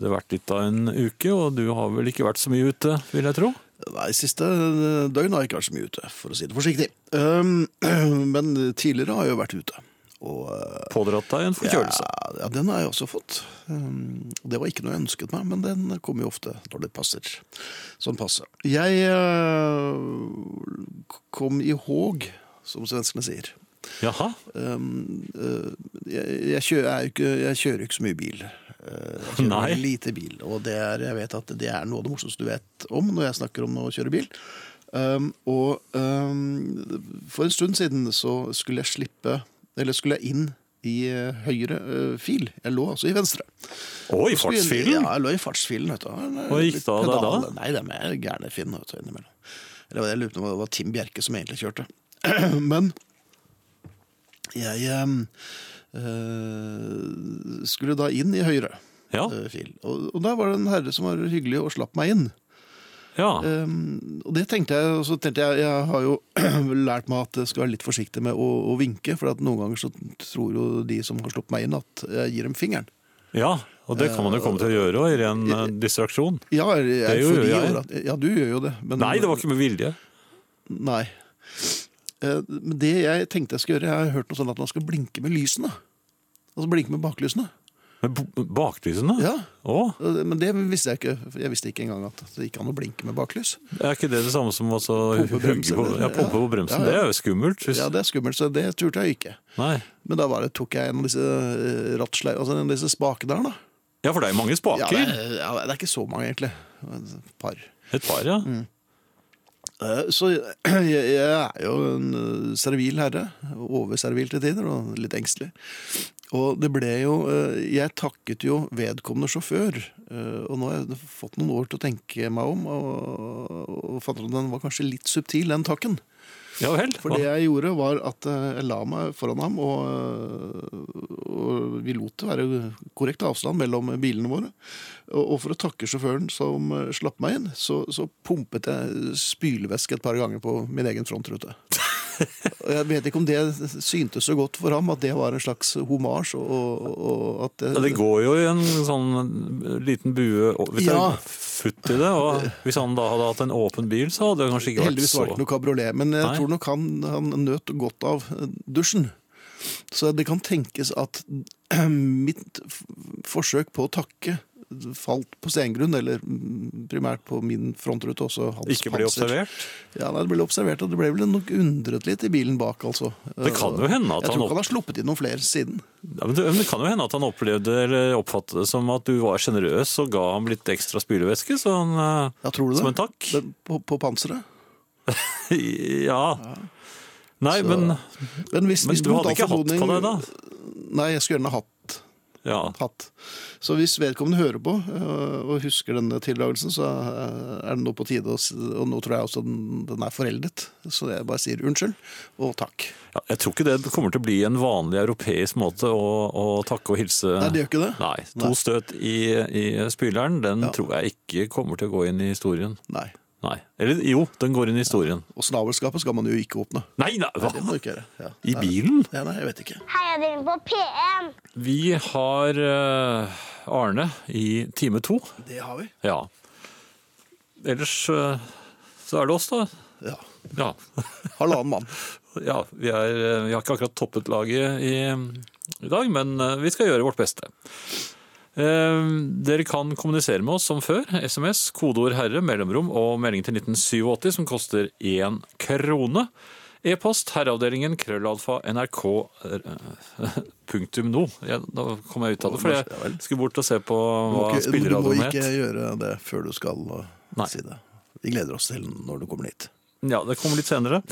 det vært litt av en uke, og du har vel ikke vært så mye ute, vil jeg tro? Nei, siste eh, døgn har jeg ikke vært så mye ute, for å si det forsiktig. Um, men tidligere har jeg jo vært ute. Og eh, Pådratt deg en forkjølelse. Ja, ja, den har jeg også fått. Um, og Det var ikke noe jeg ønsket meg, men den kommer jo ofte når det passer. Sånn passe. Jeg eh, kom i håg, som svenskene sier. Jaha, Um, eh, jeg, jeg, kjører, jeg, er jo ikke, jeg kjører ikke så mye bil. Eh, Jeg kjører Nei. lite bil, og det er, jeg vet at det er noe av det morsomste du vet om når jeg snakker om å kjøre bil. Um, og um, for en stund siden så skulle jeg slippe, eller skulle jeg inn i eh, høyre eh, fil. Jeg lå altså i venstre. og i Skulle inn- fartsfilen! Ja, jeg lå i fartsfilen, vet du. Og Hva gikk det av deg da? Nei, det er mer gærne Finn, vet du, innimellom. Eller jeg lurer på om det var Tim Bjerke som egentlig kjørte. Men jeg em, eh, skulle da inn i høyre Ja, eh, fil. Og, og der var det en herre som var hyggelig og slapp meg inn. ja. Ehm, og det tenkte jeg, og så tenkte jeg, jeg har jo lært meg at jeg skal være litt forsiktig med å, å vinke, for at noen ganger så tror jo de som har sluppet meg inn at jeg gir dem fingeren. ja. Og det kan man jo komme til å gjøre, og i ren eh, distraksjon. Ja, jeg, Det gjorde fordi, jeg. over at- Ja, du gjør jo det. men- Nei, det var ikke med vilje. Nei. Eh, Men det jeg tenkte jeg skulle gjøre, jeg har hørt noe sånn at man skal blinke med lysene. Altså blinke med baklysene. Med b- baklysene? Ja. Å, Eh, Men det visste jeg ikke. for Jeg visste ikke engang at det gikk an å blinke med baklys. er ikke det det samme som å Pumpe bremsen, hugge på, eller? ja, pumpe på Ja. bremsen? Ja, Det ja. er jo skummelt. Hvis, Ja, det er skummelt, så det turte jeg ikke. Nei. Men da var det, tok jeg en av disse eh, rattsleiv... Altså en av disse spakene her, da. ja, for det er jo mange Ja, spaker. det, er, ja, det er ikke så mange, egentlig. Et par. Et par, ja. Eh, Så jeg, jeg er jo en eh, servil herre, overservil til tider, og litt engstelig. Og det ble jo eh, Jeg takket jo vedkommende sjåfør, eh, og nå har jeg fått noen år til å tenke meg om, og, og fant ut at den var kanskje litt subtil, den takken. Ja vel. For det jeg gjorde, var at eh, jeg la meg foran ham, og, og vi lot det være korrekt avstand mellom bilene våre. Og, og for å takke sjåføren som eh, slapp meg inn, så, så pumpet jeg spylevæske et par ganger på min egen frontrute. Og jeg vet ikke om det syntes så godt for ham, at det var en slags homasj. Og, og, og at Ja, det går jo i en sånn liten bue og- hvis Ja. det er futt i det. Og hvis han da hadde hatt en åpen bil, så hadde det kanskje ikke vært Heldigvis var det så ikke noe kabriolet, men jeg Nei. tror nok han, han nøt godt av eh, dusjen. Så det kan tenkes at mitt f- forsøk på å takke falt på stengrunn, eller mm, primært på min frontrute, også hans Ikke bli panser. observert. Ja, nei, det ble observert, og det ble vel nok undret litt i bilen bak, altså. Det kan jo hende at Jeg tror han, ikke opp... han har sluppet inn noen flere siden. ja, men det, men det kan jo hende at han opplevde eller oppfattet det som at du var sjenerøs og ga ham litt ekstra spylevæske så han, eh, Ja, tror du det? som en takk. Det- På, på panseret? Ja. Nei, Så- men, Men, hvis, hvis men du mot all hadde ikke hatt på formodning- deg da? Nei, jeg skulle gjerne hatt Ja. hatt. Så hvis vedkommende hører på øh, og husker denne tildragelsen, så øh, er det nå på tide, å s- og nå tror jeg også den, den er foreldet. Så jeg bare sier unnskyld og takk. ja. Jeg tror ikke det kommer til å bli en vanlig europeisk måte å, å takke og hilse Nei, det gjør ikke det? Nei, to Nei. støt i, i spyleren, den Ja. tror jeg ikke kommer til å gå inn i historien. Nei. Nei. Eller jo, den går inn i historien. Og snabelskapet skal man jo ikke åpne. Nei, nei, hva? Det må du ikke gjøre. Ja. I bilen? Ja, nei, jeg vet ikke. Heiadelen på P1. Vi har eh, Arne i time to. Det har vi. Ja. Ellers eh, så er det oss, da. Ja. Ja. Halvannen mann. ja vi, er, eh, vi har ikke akkurat toppet laget i, i dag, men eh, vi skal gjøre vårt beste. Eh, Dere kan kommunisere med oss som før. SMS, kodeord 'herre', mellomrom og melding til 1987 som koster én krone. E-post herreavdelingen krøllalfa nrk eh, punktum no. Jeg, da kom jeg ut av det, for Ja vel. jeg skulle bort og se på Du må, hva ikke, du må spilleradioen ikke het. gjøre det før du skal øh, Nei. si det. Vi gleder oss til når du kommer dit. Ja, det kommer litt senere.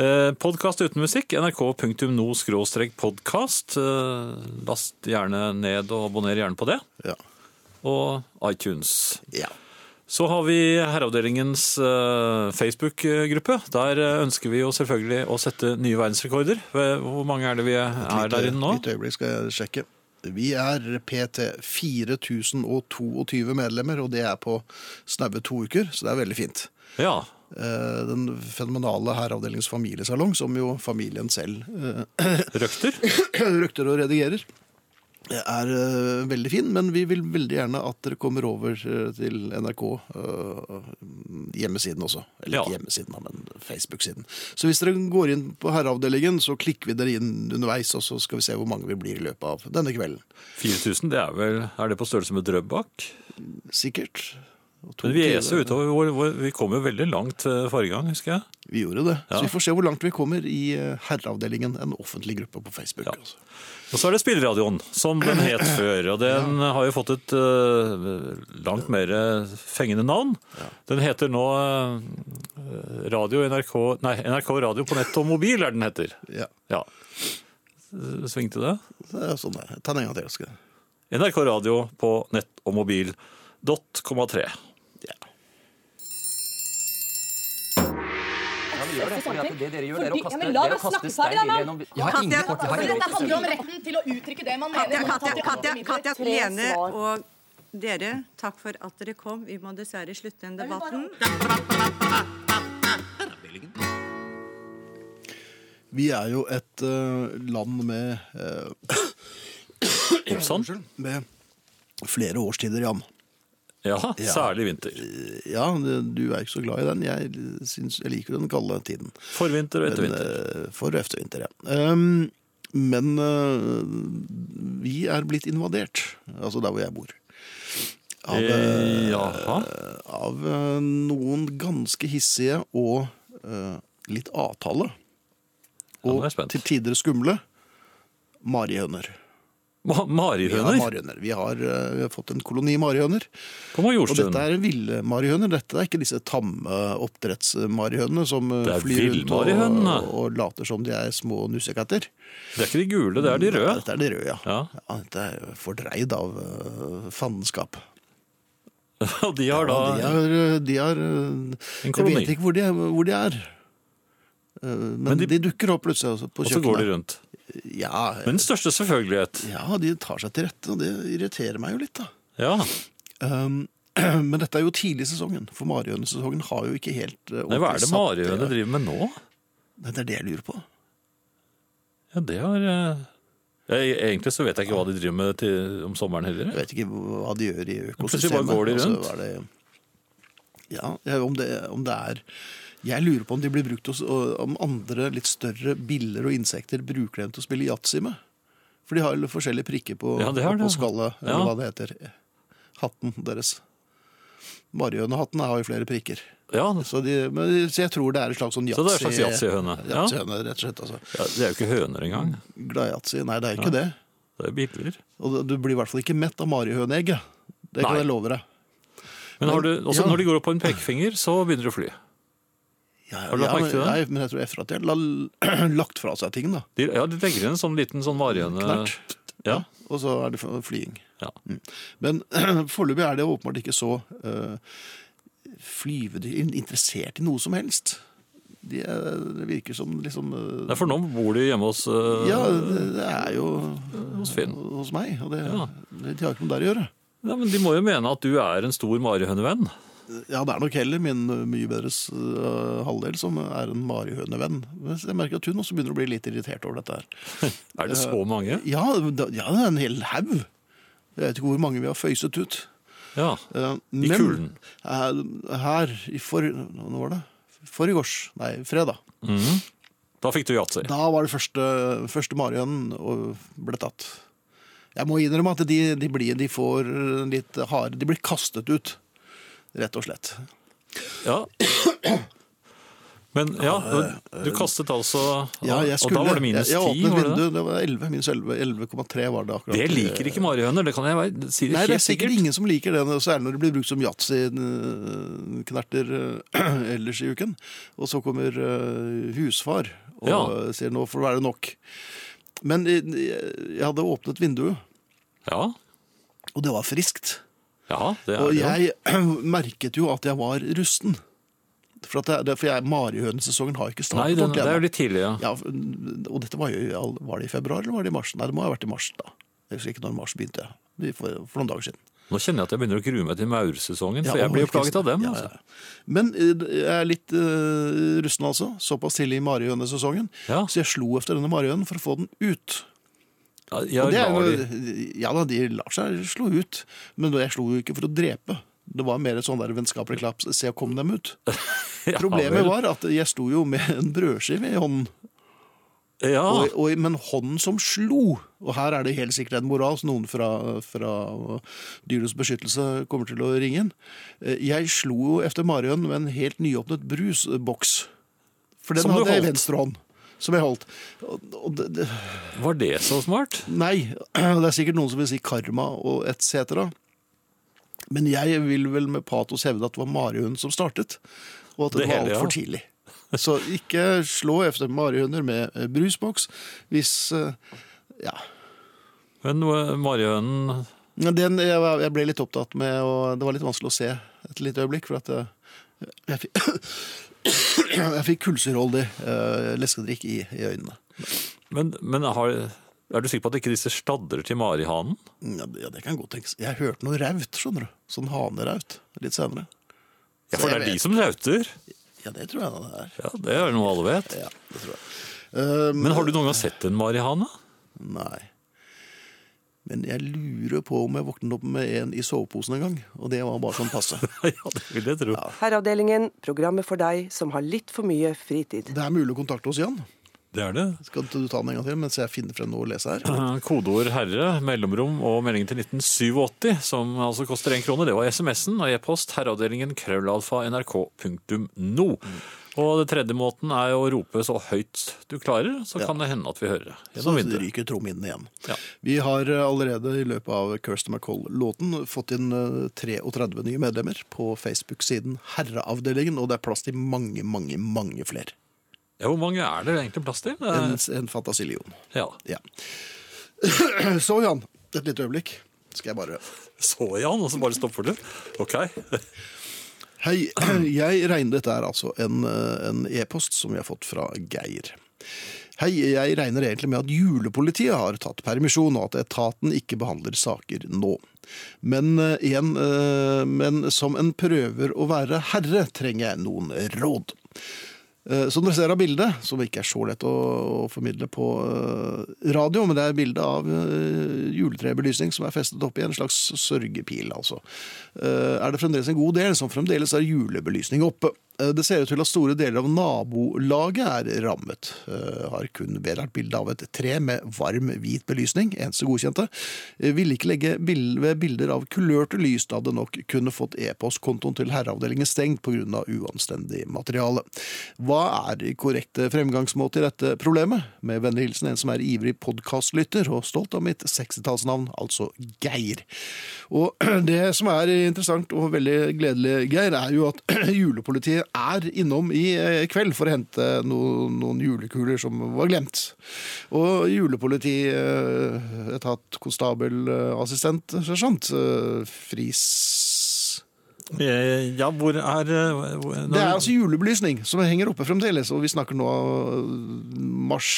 Eh, Podkast uten musikk, nrk.no-podkast. Eh, last gjerne ned og abonner gjerne på det. Ja. og iTunes. Ja. Så har vi Herreavdelingens eh, Facebook-gruppe. Der eh, ønsker vi jo selvfølgelig å sette nye verdensrekorder. Hvor hvor mange er det vi er der inne nå? Litt øyeblikk skal jeg sjekke. Vi er PT 4022 medlemmer, og det er på snaue to uker, så det er veldig fint. Ja. Eh, Den fenomenale herreavdelingens familiesalong, som jo familien selv eh, Røkter? røkter og redigerer, er eh, veldig fin. Men vi vil veldig gjerne at dere kommer over eh, til NRK eh, hjemmesiden også. Eller Ja. ikke hjemmesiden, da, men Facebook-siden. Så hvis dere går inn på herreavdelingen, så klikker vi dere inn underveis, og så skal vi se hvor mange vi blir i løpet av denne kvelden. 4000, det er vel Er det på størrelse med Drøbak? Sikkert. Og to Men vi til- eh, eser utover. Hvor, hvor, vi kom jo veldig langt eh, forrige gang, husker jeg. Vi gjorde det. Ja. Så vi får se hvor langt vi kommer i eh, herreavdelingen, en offentlig gruppe på Facebook. Ja. altså. Og så er det Spilleradioen, som den het før. Og den har jo fått et eh, langt mer fengende navn. Den heter nå eh, Radio NRK Nei, NRK Radio på nett og mobil er den heter. Ja, Ja. Svingte det? det er sånn det er. Ta den en gang til. Skal. jeg. NRK Radio på nett og mobil. Dot komma tre. Ja, vi gjør det, fordi at det dere gjør, dere Fordi- kaster- ja, men la dere meg kaster snakke ferdig, da, stein mann! gjennom- Jeg har ingen kort, jeg har ingen Altså, dette kort. handler om retten til å uttrykke det man Katja, mener. Katja, Katja, Katja, Tre Lene svar. og dere, takk for at dere kom. Vi må dessverre slutte den debatten. Vi er jo et eh, land med, eh, Ibsen? med flere årstider, Jan. Ja, særlig vinter. Ja, det- du er ikke så glad i den. Jeg, syns, jeg liker den kalde tiden. Forvinter og Men, ettervinter. eh, for og eftervinter, ja. Ehm, men eh, vi er blitt invadert, altså der hvor jeg bor. Av, eh, Eh, Jaha. av eh, noen ganske hissige og eh, litt avtale. Ja, nå Og er jeg spent. til tider skumle marihøner. Ma Vi har, Marihøner marihøner. Vi, har, eh, vi har fått en koloni marihøner. på Og Majorstuen. dette er ville marihøner. Dette er ikke disse tamme oppdrettsmarihønene som eh, Det er flyr rundt og, villmarihønene. og later som de er små nussekatter. Det er ikke de gule, det er de røde. Mm, Dette er de røde, ja. Ja. Ja, Dette er jo fordreid av eh, fandenskap. Og de har da Ja, de har, de har En Jeg koloni. vet ikke hvor de, hvor de er. Eh, Men, Men de, de- dukker opp plutselig altså, på Og så kjøkkenet. går de rundt. Ja, Med den største selvfølgelighet. ja, de tar seg til rette, og det irriterer meg jo litt, da. Ja. Um, men dette er jo tidlig i sesongen, for marihønesesongen har jo ikke helt eh, Nei, hva er ordentlig det satt- marihøner driver med nå? Nei, Det er det jeg lurer på. Ja, det har eh, jeg, Egentlig så vet jeg ikke hva de driver med til, om sommeren heller. Jeg vet ikke hva de gjør i Plutselig økosystemet. bare går de og så rundt. er det- ja, ja, om det, om det er Jeg lurer på om de blir brukt hos og Om andre litt større biller og insekter bruker dem til å spille yatzy med. For de har jo forskjellige prikker på, Ja, det har de. på skallet, eller Ja. hva det heter. Hatten deres. Marihønehatten har jo flere prikker. Ja, Så, de, men, så jeg tror det er et slags sånn Så det er en slags yatzy- yatzyhøne, ja. Yatzyhøne, rett og slett. Altså. ja Det er jo ikke høner engang. Glad-yatzy. Nei, det er ikke det. Det er biler. Og du blir i hvert fall ikke mett av marihøneegg. Det kan Nei. jeg love deg. Men har du, Ja. også når de går opp på en pekefinger, så begynner de å fly. Ja, Har du ja, lagt merke til det? men- Nei, men jeg tror etter at de har la, lagt fra seg ting, da. De, ja, de legger inn en sånn liten sånn varigende Knert. ja. Og så er det f- flying. Ja. Mm. Men foreløpig er det åpenbart ikke så uh, flyvedyr interessert i noe som helst. De er, det virker som liksom eh, Nei, For nå bor de hjemme hos, eh, Ja, det, det er jo hos Finn. hos meg, og det, Ja. det de har ikke noe der å gjøre. Ja, men De må jo mene at du er en stor marihønevenn. Ja, det er nok heller min eh, mye bedre eh, halvdel som er en marihønevenn. Men Jeg merker at hun også begynner å bli litt irritert over dette her. Er det så mange? Ja, da, ja det er en hel haug. Jeg vet ikke hvor mange vi har føyset ut. Ja. Eh, I men kulen. Her, her i for... Når var det? Forgårs. Nei, fredag. Da fikk du yatzy. Da var det første, første marihønen og ble tatt. Jeg må innrømme at de, de, blir, de får en litt harde De blir kastet ut, rett og slett. Ja. Men ja, du kastet altså eh, Ja, jeg Og da var det minus jeg, jeg ti? åpnet var det det? vinduet, det var 11, minus 11, 11,3 var det akkurat. Det liker ikke marihøner, det kan jeg være- si det Nei, det er helt sikkert sikkert. ingen som liker det, særlig når det blir brukt som yatzy-knerter eh, ellers i uken. Og så kommer eh, husfar og Ja. sier nå får det være nok. Men eh, jeg hadde åpnet vinduet, Ja, og det var friskt. Ja, det er Og det. jo. jeg merket jo at jeg var rusten. For, at det, for jeg, marihønesesongen har ikke Nei, startet den, ordentlig det er jo ennå. litt tidlig, ja. Ja, og dette var jo i all- Var det i februar eller var det i mars? Nei, det må ha vært i mars, da. Jeg husker ikke når mars begynte. Vi- For, for noen dager siden. Nå kjenner jeg at jeg begynner å grue meg til maursesongen, for Ja, jeg blir jo orkesen. plaget av dem. Ja, Altså. ja. Men eh, jeg er litt eh, rusten, altså. Såpass tidlig i marihønesesongen. Ja. Så jeg slo efter denne marihønen for å få den ut. Ja, jeg Og det er lar de- jo, ja da, de lar seg slå ut. Men jeg slo jo ikke for å drepe. Det var mer et sånn der vennskapelig klaps. Se, kom dem ut. Ja, Problemet vel. var at jeg sto jo med en brødskive i hånden, ja. og, og, men hånden som slo. Og her er det helt sikkert en moral som noen fra, fra Dyrenes beskyttelse kommer til å ringe inn. Eh, Jeg slo jo efter Marion med en helt nyåpnet brusboks. For den Som du hadde jeg i holdt. venstre hånd. Som jeg holdt. Og, og det, det, Var det så smart? nei, det er sikkert noen som vil si karma og et cetera. Men jeg vil vel med patos hevde at det var marihønen som startet, og at det, Det var hele, ja. altfor tidlig. Så ikke slå efter marihunder med eh, brusboks hvis eh, Ja. Men eh, marihønen Men Den, jeg, var- jeg ble litt opptatt med og Det var litt vanskelig å se et lite øyeblikk, for at jeg, jeg fikk Jeg fikk kullsyreholdig eh, leskedrikk i, i øynene. Men, men har, er du sikker på at ikke disse stadrer til marihanen? Ja, det, ja, det kan godt tenkes. Jeg hørte noe raut, skjønner du. Sånn haneraut litt senere. Ja, for Så det jeg er de vet. som rauter. Ja, det tror jeg da det er. Ja, Det er noe alle vet. Ja, det tror jeg. Eh, Men har du noen gang sett en marihane? Nei. Men jeg lurer på om jeg våknet opp med en i soveposen en gang, og det var bare sånn passe. ja, det vil jeg tro. Herreavdelingen, programmet for deg som har litt for mye fritid. Det er mulig å kontakte oss igjen. Det er det. Skal du ta den en gang til mens jeg finner frem noe å lese her? Eh, Kodeord 'herre', mellomrom og meldingen til 1987, som altså koster én krone. Det var SMS-en og e-post herreavdelingen krøllalfa nrk.no. Og den tredje måten er å rope så høyt du klarer, så kan det hende at vi hører det. Så Gjennom vinteren. ryker trommehinnen igjen. Ja. Vi har eh, allerede i løpet av Kirsten MacColl-låten fått inn eh, 33 nye medlemmer på Facebook-siden Herreavdelingen, og det er plass til mange, mange, mange flere. Ja, hvor mange er det egentlig plass til? Det En, er- en fantasillion. Ja. Ja. Så, Jan, et lite øyeblikk skal jeg bare Så Jan, og så bare stopp for det. Ok. Hei, jeg regner dette er altså en eh, en e-post som vi har fått fra Geir. Hei, jeg regner egentlig med at julepolitiet har tatt permisjon, og at etaten ikke behandler saker nå. Men, eh, igjen, eh, men som en prøver å være herre, trenger jeg noen råd. Eh, Som dere ser av bildet, som ikke er så lett å, å formidle på eh, radio, men det er bilde av eh, juletrebelysning som er festet opp i en slags sørgepil, altså. Eh, Er det fremdeles en god del som fremdeles har julebelysning oppe? Eh, Det ser ut til at store deler av nabolaget er rammet. Eh, Har kun vedlagt bilde av et tre med varm, hvit belysning, eneste godkjente. Eh, Ville ikke legge bil- ved bilder av kulørte lys, da det nok kunne fått e-postkontoen til herreavdelingen stengt pga. uanstendig materiale. Hva er korrekt fremgangsmåte i dette problemet? Med vennlig hilsen en som er ivrig podkastlytter og stolt av mitt 60-tallsnavn, altså Geir. Og det som er interessant og veldig gledelig, Geir, er jo at julepolitiet er innom i eh, kveld for å hente noen, noen julekuler som var glemt. Og julepoliti, eh, etat, konstabel, eh, assistent, sersjant, eh, fris Eh, Ja, hvor er eh, hvor- Det er altså julebelysning som henger oppe fremdeles, og vi snakker nå av eh, mars.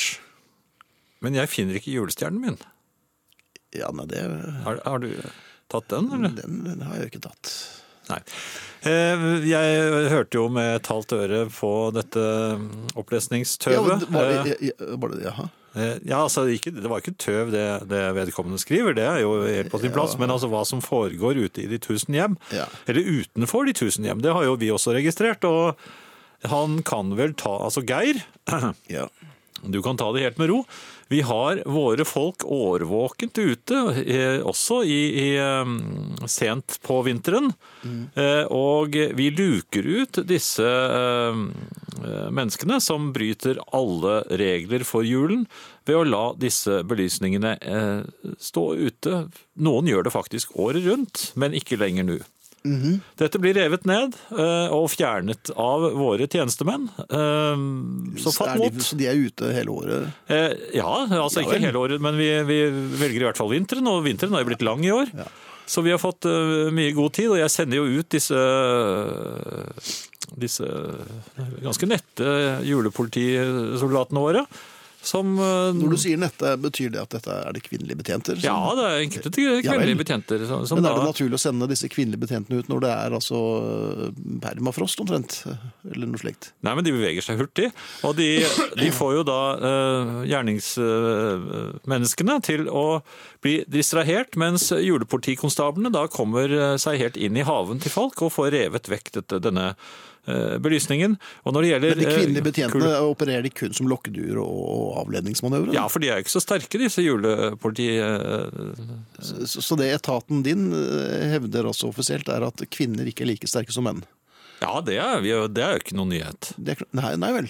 Men jeg finner ikke julestjernen min. Ja, nei, det Har, har du tatt den, eller? den, den har jeg jo ikke tatt. Nei. Eh, Jeg hørte jo med et halvt øre på dette mm, Ja, opplesningstøvet. var det, ja, var det, jaha. Eh, Ja, altså, ikke, Det var ikke tøv det, det vedkommende skriver, det er jo helt på sin plass. Men altså hva som foregår ute i de tusen hjem, Ja. eller utenfor de tusen hjem, det har jo vi også registrert. Og han kan vel ta Altså Geir, Ja. Du kan ta det helt med ro. Vi har våre folk årvåkent ute, eh, også i, i, eh, sent på vinteren. Eh, Og vi luker ut disse eh, eh, menneskene som bryter alle regler for julen, ved å la disse belysningene eh, stå ute. Noen gjør det faktisk året rundt, men ikke lenger nå. Mhm. Dette blir revet ned eh, og fjernet av våre tjenestemenn. Eh, Så fatt er mot. de, så de er ute hele året? Eh, ja, altså Ja ikke vel. hele året, men vi, vi velger i hvert fall vinteren, og vinteren har jo blitt lang i år. Så vi har fått eh, mye god tid, og jeg sender jo ut disse, disse ganske nette julepolitisoldatene våre. Som eh, Når du sier nette, betyr det at dette er det kvinnelige betjenter? som- Ja, det er enkelte Ja vel. kvinnelige betjenter som, som Men er det da naturlig å sende disse kvinnelige betjentene ut når det er altså eh, permafrost omtrent? Eller noe slikt? Nei, men de beveger seg hurtig. Og de, de får jo da eh, gjerningsmenneskene til å bli distrahert, mens julepolitikonstablene da kommer eh, seg helt inn i haven til folk og får revet vekk dette, denne eh, belysningen. Og når det gjelder Men de kvinnelige eh, kul- betjentene opererer de kun som lokkedyr og- og avledningsmanøvrer? Ja, for de er jo ikke så sterke, disse julepoliti... eh, Så så det etaten din eh, hevder altså offisielt, er at kvinner ikke er like sterke som menn? Ja, det er, vi er jo- det er jo ikke noen nyhet. Det er, kl- nei, nei vel.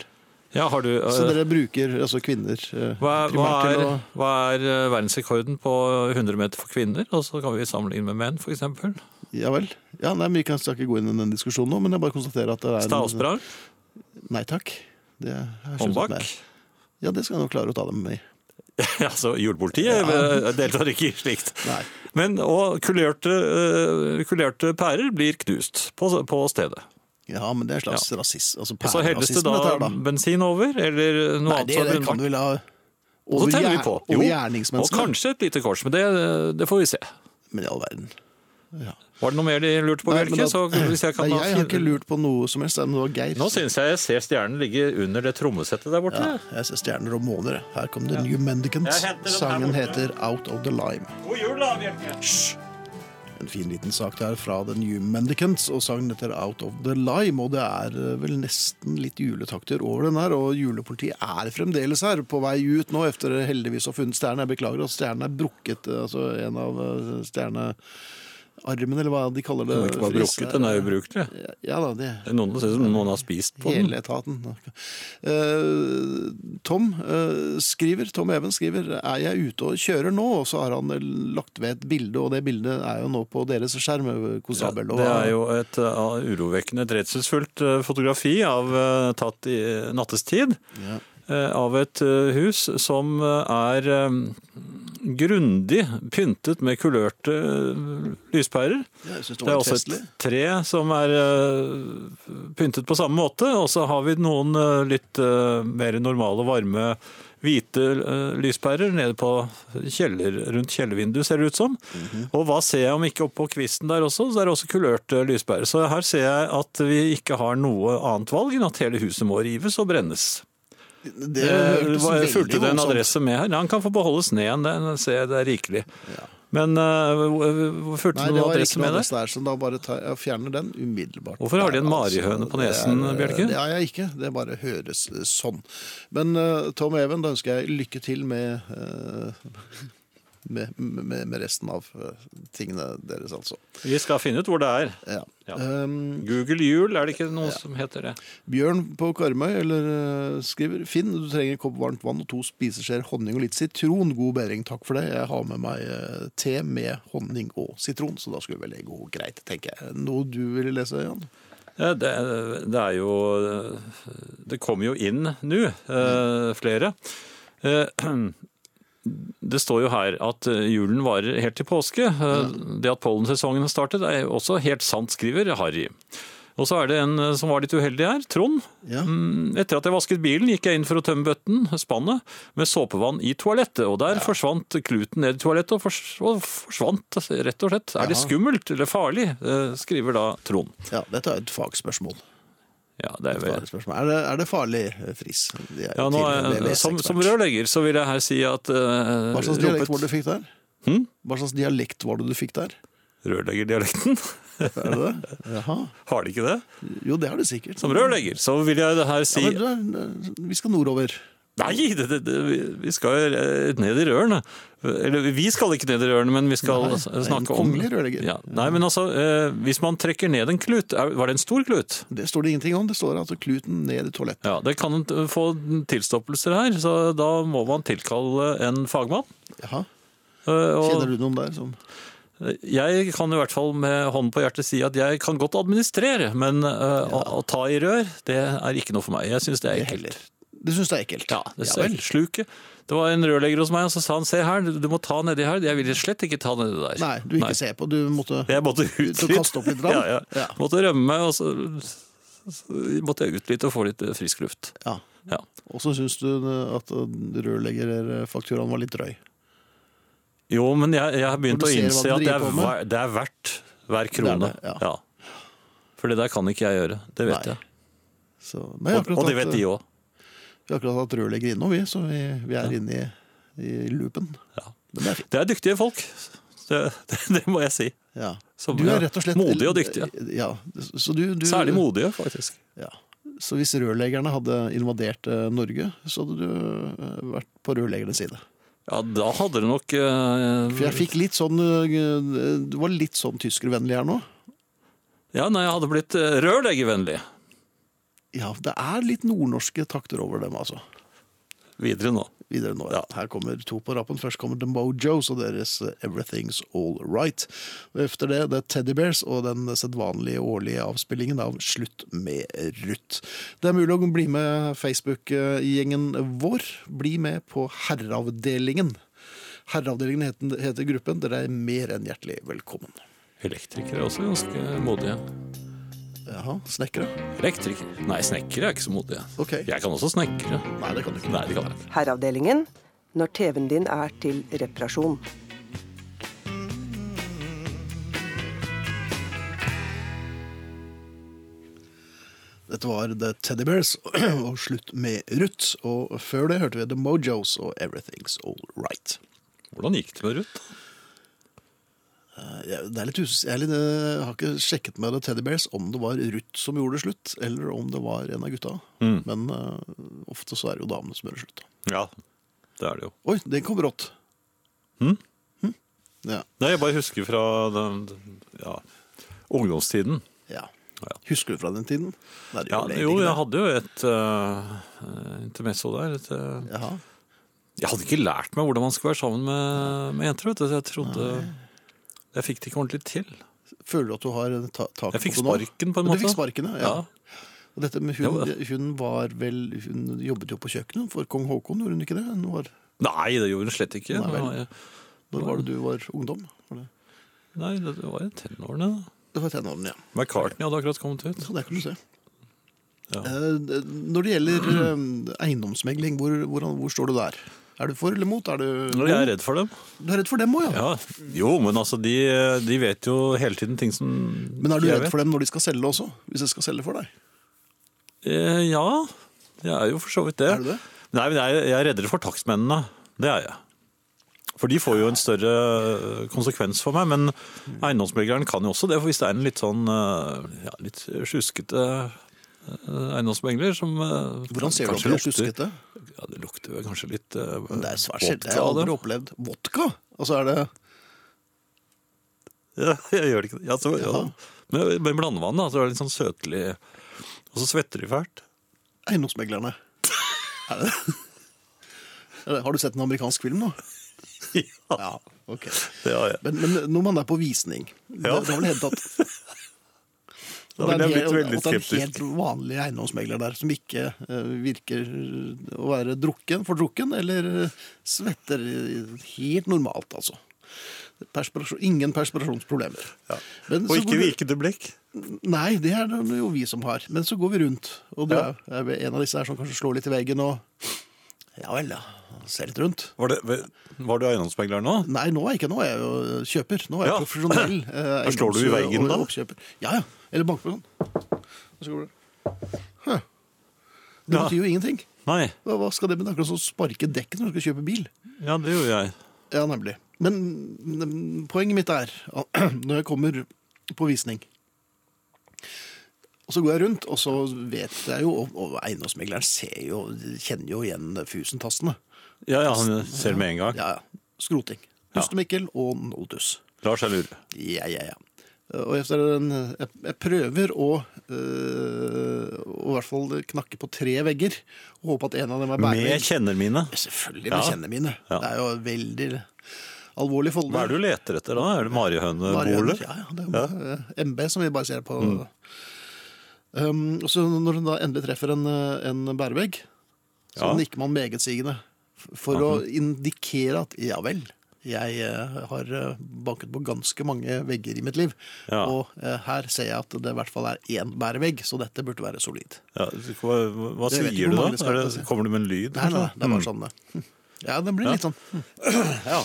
Ja, har du... eh, Så dere bruker altså kvinner eh, Hva, hva, primært er, til å hva er eh, verdensrekorden på 100 meter for kvinner? Og så kan vi sammenligne med menn, for eksempel. Ja vel. Ja, nei, men Vi kan skal ikke gå inn i den diskusjonen nå, men jeg bare konstaterer at det er en- Stavsprang, Nei takk. Det har jeg skjønt at håndbak. det er. Ja, det skal jeg nok klare å ta dem i. Altså, julepolitiet eh, deltar ikke i slikt. Nei. Men, og kulerte, eh, kulerte pærer blir knust på, på stedet. Ja, men det er en slags rasisme. Altså, Og så helles det pærerasisme, dette da her, da. bensin over, eller noe Nei, annet. det, som er det kan brennbart. du vel ha og over, så tenner vi gjer- på. over Jo, og gjerningsmenneskene. kanskje et lite kors, men det, det får vi se. Men i all verden. Var det noe mer de lurte på, Nei, men Bjelke? da- så hvis jeg Nei, kan da jeg har finne- ikke lurt på noe som helst, men det var Geir. Nå syns jeg jeg ser stjernen ligge under det trommesettet der borte. Ja, jeg ser stjerner og måner. jeg. Her kom The New Mendicant. Jeg henter den her Sangen borte. heter Out of the Lime. God jul, da, Bjelke! En fin liten sak der fra The New Mendicants, og sangen heter Out of the Lime. Og det er eh, vel nesten litt juletakter over den her, og julepolitiet er fremdeles her, på vei ut nå, etter heldigvis å ha funnet stjernen. Jeg beklager at stjernen er brukket, eh, altså en av eh, stjernearmen, eller hva de kaller det. Den er ikke bare Fris. brukket, den er ubrukelig. Ja da, det Det er noen som ser ut som noen har spist på den. Hele etaten. Eh, Tom eh, skriver, Tom Even skriver er jeg ute og kjører nå, og så har han eh, lagt ved et bilde, og det bildet er jo nå på deres skjerm. eh, Ja, Konstabel. det er jo et eh, urovekkende, et redselsfullt eh, fotografi av, eh, tatt i eh, nattestid Ja. eh, av et eh, hus som eh, er eh, grundig pyntet med kulørte eh, lyspærer. Ja, jeg synes det Det er var litt også et festlig. tre som er eh, pyntet på samme måte, og så har vi noen eh, litt eh, mer normale, varme, hvite eh, lyspærer nede på kjeller, rundt kjellervinduet, ser det ut som. Mhm. Og hva ser jeg om ikke oppå kvisten der også, så er det også kulørte lyspærer. Så her ser jeg at vi ikke har noe annet valg enn at hele huset må rives og brennes. Det Eh, Jeg hørtes var- veldig fulgte det en voldsomt. adresse med her? Nei, Han kan få beholde sneen, den ser jeg det er rikelig. Men eh, hvor- hvor- fulgte Nei, du det noen var ikke adresse noe med der? adresse der, så da bare tar, jeg fjerner den umiddelbart. Hvorfor har de en Der, altså. marihøne på det nesen, er- eh, Bjelke? Det har jeg ikke, det bare høres eh, sånn. Men eh, Tom Even, da ønsker jeg lykke til med, eh, med, med, med resten av eh, tingene deres, altså. Vi skal finne ut hvor det er. Ja. Ja. Um, Google jul, er det ikke noe som heter det? Bjørn på Karmøy eller, eh, skriver Finn, du trenger en kopp varmt vann og to spiseskjeer honning og litt sitron. God bedring, takk for det. Jeg har med meg eh, te med honning og sitron, så da skulle vel det gå greit, tenker jeg. Noe du ville lese, Jan? Ja, det, det er jo Det kommer jo inn nå, eh, flere. Eh, Det står jo her at julen varer helt til påske. Eh, Det at pollensesongen har startet er jo også helt sant, skriver Harry. Og så er det en som var litt uheldig her, Trond. Ja. Mm, Etter at jeg vasket bilen, gikk jeg inn for å tømme bøtten, spannet, med såpevann i toalettet. Og der forsvant kluten ned i toalettet, og, fors og forsvant, rett og slett. Er det Ja. skummelt eller farlig? eh, skriver da Trond. Ja, dette er et fagspørsmål. Ja, det er Et vel... fagspørsmål. Er, det, er det farlig, eh, Friis? De er Ja, jo nå, tidligere er- som, VVS-ekspert. som rørlegger så vil jeg her si at eh, Hva slags ropet- dialekt var det du fikk der? Hm? Hva slags dialekt var det du fikk der? Rørleggerdialekten? Er det det? Jaha. Har de ikke det? Jo, det har du sikkert. Som rørlegger så vil jeg her si Ja, men, du er- vi skal nordover. Nei, det, det, det, vi- vi skal jo eh, ned i rørene. Eller vi skal ikke ned i rørene, men vi skal Nei, s- det er en snakke om kongelig rørlegger. Ja. Nei, men altså, eh, hvis man trekker ned en klut er- Var det en stor klut? Det står det ingenting om. Det står altså kluten ned i toalettet. Ja, Det kan t- få tilstoppelser her, så da må man tilkalle en fagmann. Jaha. Eh, og- Kjenner du noen der som Jeg kan i hvert fall med hånden på hjertet si at jeg kan godt administrere, men eh, å, å ta i rør, det er ikke noe for meg. Jeg syns det er Det ekkelt. heller. Det syns jeg er ekkelt. Ja, det vel. ser sluket. Det var en rørlegger hos meg, og så sa han se her, du må ta nedi her. Jeg ville slett ikke ta nedi der. Nei, du vil ikke se på. Du måtte Jeg måtte ut Du kastet opp litt grann? Ja, ja. Ja. Måtte rømme, og så, så måtte jeg ut litt og få litt eh, frisk luft. Ja. Ja. Og så syns du at rørleggerfakturaen var litt drøy. Jo, men jeg, jeg har begynt Når å du ser hva innse den at det er, driver på med. ver- det er verdt hver krone. Det er det, ja. For det der kan ikke jeg gjøre. Det vet Nei. jeg. Så, men jeg har Og, akkurat og det hatt- vet de òg. Vi har akkurat hatt rørlegger innom, vi, så vi, vi er inne i, i loopen. Ja. Men det er fint. Det er dyktige folk. Det, det, det må jeg si. Ja. Som Du er er rett og slett modige og dyktige. Ja, så du, du, Særlig modige, faktisk. Ja. Så hvis rørleggerne hadde invadert eh, Norge, så hadde du eh, vært på rørleggernes side. Ja, da hadde det nok eh, For jeg fikk litt sånn eh, Du var litt sånn tyskervennlig her nå. Ja, nei, jeg hadde blitt eh, rørleggervennlig. Ja, det er litt nordnorske takter over dem, altså. Videre nå. videre nå. Ja. Her kommer to på rappen. Først kommer The Mojos og deres eh, Everything's All Right. Og efter det The Teddy Bears og den sedvanlige årlige avspillingen av Slutt med Ruth. Det er mulig å bli med Facebook-gjengen vår. Bli med på Herreavdelingen. Herreavdelingen heter, heter gruppen. Dere er mer enn hjertelig velkommen. Elektrikere er også ganske modige. Jaha, snekkere? Elektriker? Nei, snekkere er ikke så modige. Ok. Jeg kan også snekre. Nei, det kan du ikke. Nei, det kan jeg ikke. Herreavdelingen når TV-en din er til reparasjon. Dette var The Teddy Bears og Slutt med Ruth. Og før det hørte vi The Mojos og Everything's All Right. Hvordan gikk det med Ruth? Jeg, det er litt usus- jeg, er litt, eh, har ikke sjekket med The Teddy Bears om det var Ruth som gjorde det slutt, eller om det var en av gutta. Mm. Men eh, ofte så er det jo damene som gjør det slutt. da. Ja, det er det jo. Oi, den kom brått. Hm? Ja. Nei, jeg bare husker fra den, ja, ungdomstiden. ja. Ja. Husker du fra den tiden? Nei, det Ja, gjør det jo, egentlig jeg ikke. hadde jo et eh, intermezzo der. Et, eh, Jaha. jeg hadde ikke lært meg hvordan man skulle være sammen med, med jenter, vet du. så Jeg trodde Jeg fikk det ikke ordentlig til. Føler du at du har ta tak Jeg fikk på det nå? sparken, på en måte. Du fikk sparken, ja. Ja. Og dette med hun, Ja, hun var vel Hun jobbet jo på kjøkkenet for kong Haakon, gjorde hun ikke det? Hun var, Nei, det gjorde hun slett ikke. Nei Nei, vel. det, når var det du var ungdom? Var det? nei, det var i tenårene. da. det var tenårene, ja. McCartney hadde akkurat kommet ut. Så der kan du se. Ja. Eh, Når det gjelder eh, eiendomsmegling, hvor, hvor, hvor står du der? Er du for eller mot? Er du, Jeg er redd for dem. du er redd for dem òg, ja. Ja. Jo, men altså, de, de vet jo hele tiden ting som Men er du redd for dem når de skal selge også? Hvis de skal selge for deg? Eh, ja, jeg er jo for så vidt det. Er du det? Nei, men jeg, jeg er reddere for takstmennene. Det er jeg. For de får jo en større eh, konsekvens for meg, men eiendomsmegleren kan jo også det. For hvis det er en litt sånn eh, ja, litt sjuskete eh, eiendomsmegler som eh, Hvordan ser du at kanskje de er lukter- sjuskete? Ja, det lukter vel kanskje litt eh, Men Det er svært sjelden. vodka Jeg har av det. aldri opplevd vodka. Altså er det Ja, jeg gjør det ikke. Ja, så, ja. Men med blandevann, da, så er det litt sånn søtlig Og så svetter de fælt. eiendomsmeglerne. Er det? Er det- Har du sett en amerikansk film nå? Ja, Ja, ok. det har jeg. Men, men når man er på visning Det, Ja. det har vel hendt at Da ville jeg Det er en blitt hel- veldig at det er en skeptisk. helt vanlig eiendomsmegler der, som ikke eh, virker eh, å være drukken, fordrukken, eller eh, svetter helt normalt, altså. Perspirasjon, ingen perspirasjonsproblemer. Men Og så ikke går vi- vikende blikk. Nei, det er det jo vi som har. Men så går vi rundt, og du Ja. er er en av disse her som kanskje slår litt i veggen og Ja vel, ja. Ser litt rundt. Var, det, var du eiendomsmegler nå? Nei, nå er jeg ikke. Nå er jeg jo kjøper. Nå er jeg Ja. profesjonell. Eh, Da slår du i eiendoms- veggen, da? og oppkjøper. Ja, ja. Eller banker på sånn. Og så går du. Hø. Det Ja. betyr jo ingenting. Nei. Hva hva skal det med? Det er akkurat som å sparke dekket når du skal kjøpe bil. Ja, det gjorde jeg. Ja, nemlig. Men mm, poenget mitt er, når jeg kommer på visning, og så går jeg rundt, og så vet jeg jo, og- og eiendomsmegleren ser jo, kjenner jo igjen fusentastene. Ja, ja, han ser med en gang. Ja, ja. Skroting. Hustemikkel og Nodus. Lar seg lure. Ja, ja, ja. Og efter en, jeg, jeg prøver å, øh, å i hvert fall knakke på tre vegger, og håpe at en av dem er Med bærevegg. kjenner mine. Selvfølgelig med Ja. kjennene mine. Ja. Det er jo veldig alvorlig folde. Hva er det du leter etter da? Er det marihøneboler? Ja, ja, det er eh, MB som vi bare ser på. Um, og så når hun da endelig treffer en, eh, en bærevegg, Så Ja. nikker man megetsigende for å indikere at ja vel, jeg eh, har eh, banket på ganske mange vegger i mitt liv. Ja. Og eh, her ser jeg at det i hvert fall er én bærevegg, så dette burde være solid. Ja, hva hva Jeg vet ikke sier hvor du da? mange det skal Er være. det, kommer du med en lyd? Nei, nei, kanskje? Mm. det er bare sånn. eh, hm. Ja, det blir litt sånn. hm. Ja.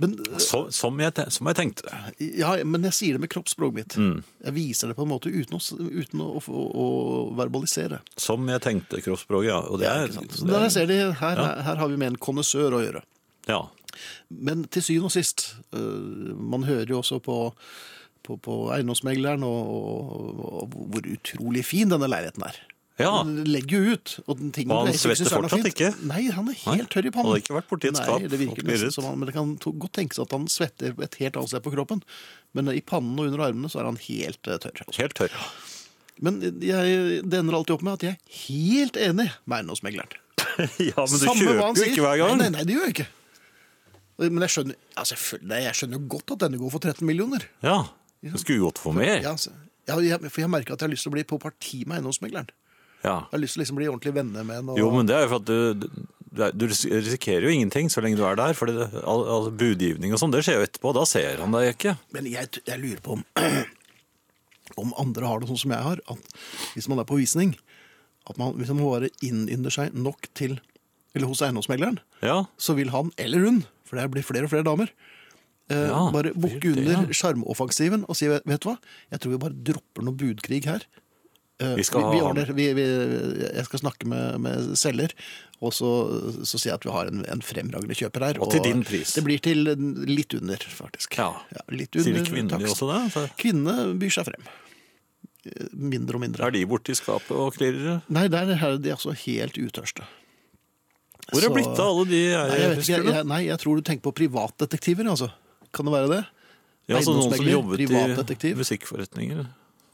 Men, eh, Så, som, jeg, te- som jeg tenkte. ja, men jeg sier det med kroppsspråket mitt. Mm. Jeg viser det på en måte uten å, s- uten å, å, å verbalisere. Som jeg tenkte, kroppsspråket, ja. Og det er, Ikke sant? Så der jeg ser de, her, her har vi med en kondisør å gjøre. ja. Men til syvende og sist, øh, man hører jo også på, på, på eiendomsmegleren og, og, og hvor utrolig fin denne leiligheten er. ja. Den legger jo ut. Og, den tingen Og han du ikke svetter synes er noe fortsatt fint. ikke? Nei, han er Nei, helt tørr i pannen. han har ikke vært borti et skap Nei, det og virker knirret. nesten som han, men det kan to- godt tenkes at han svetter et helt annet sted på kroppen. Men i pannen og under armene så er han helt eh, tørr. Helt tørr. Men jeg, det ender alltid opp med at jeg er helt enig med eiendomsmegleren. Ja, men du Samme hva han kjøper jo sier. ikke hver gang. Nei, nei, nei det gjør jeg ikke. Men jeg skjønner, ja, selvfølgelig- nei, jeg skjønner jo godt at denne går for 13 millioner. Ja. Du skulle gått for mer. Ja, altså, ja, jeg, for jeg merker at jeg har lyst til å bli på parti med eiendomsmegleren. Ja. Jeg har lyst til å liksom bli ordentlig venner med henne. Og... Jo, men det er jo for at du, du er- du ris- risikerer jo ingenting så lenge du er der. For det, al, al, budgivning og sånn, det skjer jo etterpå. Da ser han deg ikke. Men jeg, t- jeg lurer på om, om andre har det sånn som jeg har, at hvis man er på visning, at man, hvis man bare innynder seg nok til, eller hos eiendomsmegleren, Ja. så vil han eller hun, for det blir flere og flere damer, eh, Ja, bare bukke det blir det, under sjarmoffensiven og si vet du hva, jeg tror vi bare dropper noe budkrig her. Eh, Vi skal vi, vi ha han. ordner, vi, vi, jeg skal snakke med, med selger, og så, så sier jeg at vi har en, en fremragende kjøper her. Og til din pris. Det blir til litt under, faktisk. Ja. litt Sier under de kvinner takst. også Altså- det? Så Kvinnene byr seg frem. Eh, Mindre og mindre. er de borte i skapet og klirrer? Nei, der er de altså helt utørste. Hvor er Så- det blitt av alle de jeg, Nei, jeg, vet ikke, husker? jeg, jeg, nei, jeg tror du tenker på privatdetektiver, altså. Kan det være det? ja, så noen som eiendomsmegler, jobbet i privatdetektiv. musikkforretninger.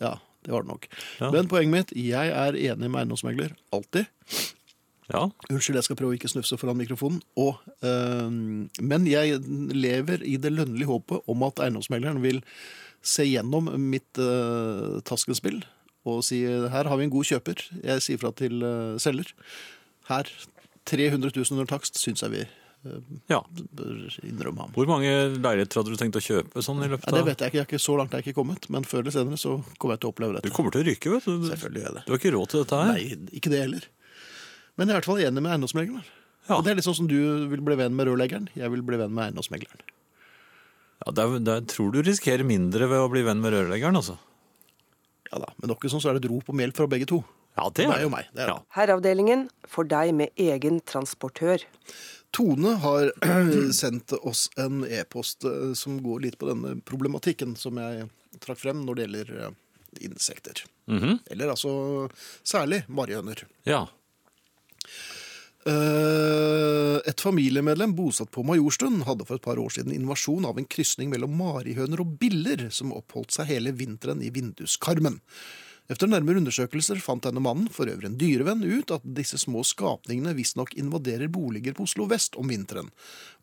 Ja, det var det nok. Ja. Men poenget mitt, jeg er enig med eiendomsmegler. Alltid. Ja. Unnskyld, jeg skal prøve å ikke snufse foran mikrofonen. Og, øhm, men jeg lever i det lønnlige håpet om at eiendomsmegleren vil se gjennom mitt øh, taskenspill og si her har vi en god kjøper. Jeg sier fra til øh, selger. Her, 300 000 under takst, syns jeg vi øh, ja. bør innrømme ham. Hvor mange leiligheter hadde du tenkt å kjøpe sånn i løpet Ja, av det vet jeg ikke. Jeg er ikke. Så langt er jeg ikke kommet. Men før eller senere så kommer jeg til å oppleve Du dette. kommer til å ryke, vet du. Selvfølgelig gjør jeg det. Du har ikke råd til dette her. Nei, ikke det heller. Men jeg er i hvert fall enig med eiendomsmegleren. Ja. Og det er litt sånn som du vil bli venn med rørleggeren. Jeg vil bli venn med eiendomsmegleren. Ja, der, der tror du risikerer mindre ved å bli venn med rørleggeren, altså. Ja da, Men ikke sånn så er det et rop om hjelp fra begge to. Ja, Det er jo meg. Det er Ja. det. Herreavdelingen for deg med egen transportør. Tone har sendt oss en e-post eh, som går litt på denne problematikken som jeg trakk frem når det gjelder eh, insekter. Mhm. Eller altså særlig marihøner. ja. Eh, Et familiemedlem bosatt på Majorstuen hadde for et par år siden invasjon av en krysning mellom marihøner og biller som oppholdt seg hele vinteren i vinduskarmen. Efter nærmere undersøkelser fant denne mannen, for øvrig en dyrevenn, ut at disse små skapningene visstnok invaderer boliger på Oslo vest om vinteren.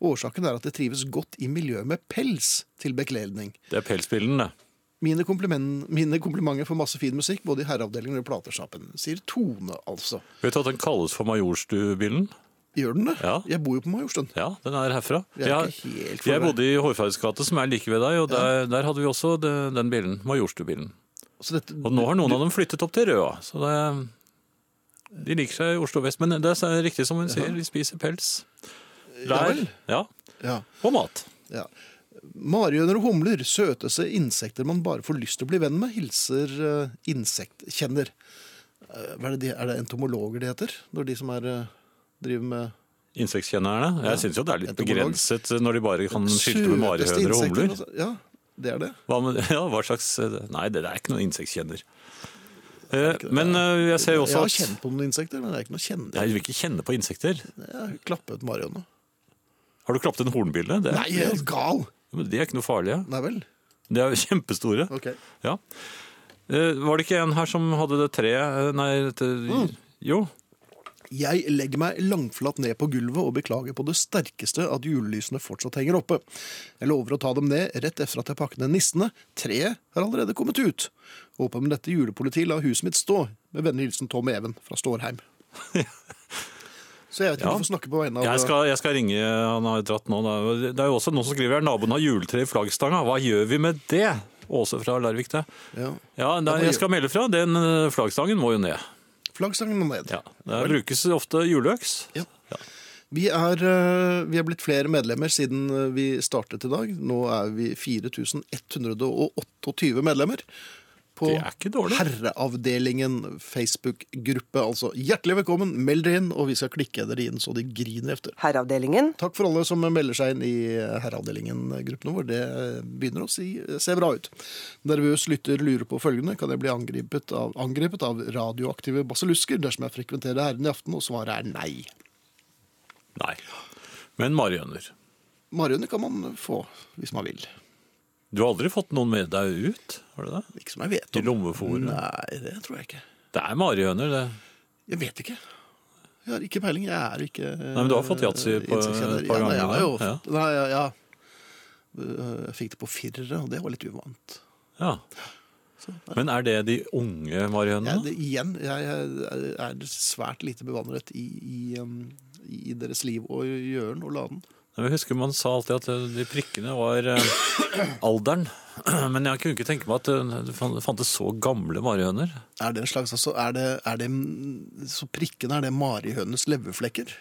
Årsaken er at det trives godt i miljøet med pels til bekledning. Det er pelsbillen, det. Mine, komplimen- mine komplimenter for masse fin musikk, både i herreavdelingen og i platesjappen, sier Tone, altså. Vet du at den kalles for Majorstubillen? Gjør den det? Ja. Jeg bor jo på Majorstuen. Ja, den er herfra. Vi er Jeg- ikke helt jeg forberedt. bodde i Hårfarges gate, som er like ved deg, og der, der hadde vi også de, den bilen. Majorstubillen. Så dette, Og nå har noen av dem flyttet opp til Røa, så det, de liker seg i Oslo vest. Men det er riktig som hun sier, de spiser pels. Lær, vel. ja, ja, og mat. ja. Marihøner og humler, søteste insekter man bare får lyst til å bli venn med, hilser eh, insektkjenner. Eh, hva er, det de, er det entomologer de heter? Når de som er, eh, driver med Insektkjennerne. Jeg synes jo det er litt entomolog. begrenset når de bare kan skilte Søteste med marihøner og insekter, humler. altså. Ja, det er det. Hva, med, ja, hva slags eh, Nei, det er ikke noen insektkjenner. Eh, Men eh, jeg ser jo Jeg også har at kjent på noen insekter, men det er ikke noe kjenne. Nei, du vil ikke kjenne på insekter. Jeg har klappet marihøne. Har du klappet en hornbille? Det, Nei, jeg er gal! Men De er ikke noe farlige. Nei vel. De er jo kjempestore. Ok. Ja. Eh, Var det ikke en her som hadde det treet Nei, dette Mm. Jo. Jeg legger meg langflatt ned på gulvet og beklager på det sterkeste at julelysene fortsatt henger oppe. Jeg lover å ta dem ned rett etter at jeg pakker ned nissene. Treet har allerede kommet ut. Håper med dette julepolitiet lar huset mitt stå. Med vennlig hilsen Tom Even fra Stårheim. Så jeg vet ikke Ja. om du får snakke på vegne av Jeg skal, jeg skal ringe Han har dratt nå. Da. Det er jo også noen som skriver her naboen har juletre i flaggstanga. Hva gjør vi med det? Åse fra Larvik, det. ja. Ja, nei, jeg skal melde fra. Den eh, flaggstangen må jo ned. Flaggstangen må ned. Ja. Der brukes ofte juleøks. Ja. Vi, er, eh, vi er blitt flere medlemmer siden eh, vi startet i dag. Nå er vi 4128 medlemmer. På Det er ikke dårlig. Herreavdelingen Facebook-gruppe. Altså, hjertelig velkommen, meld dere inn, og vi skal klikke dere inn så de griner efter. Herreavdelingen. Takk for alle som melder seg inn i Herreavdelingen-gruppen vår. Det eh, begynner å si, se bra ut. Nervøs lytter lurer på følgende. Kan jeg bli angrepet av, angrepet av radioaktive basillusker dersom jeg frekventerer Herren i aften? Og svaret er nei. Nei. Men marihøner. Marihøner kan man få hvis man vil. Du har aldri fått noen med deg ut? Har du det? Ikke som jeg vet I om. lommefòret? Nei, det tror jeg ikke. Det er marihøner, det. Jeg vet ikke. Jeg har ikke peiling. Jeg er ikke Nei, men du har fått yatzy på- et par ganger, Ja, nei, jeg har jo, da. Nei, ja, ja. Øh, Jeg fikk det på firere, og det var litt uvant. Ja. Men er det de unge Jeg, marihønene? det, igjen, jeg jeg er svært lite bevandret i, i, um, i deres liv og gjøren og laden. Jeg husker man sa alltid at eh, de prikkene var eh, alderen. Men jeg kunne ikke tenke meg at eh, det fan- fantes så gamle marihøner. Er det en slags altså, er det, er det, Så prikkene, er det marihønenes leverflekker?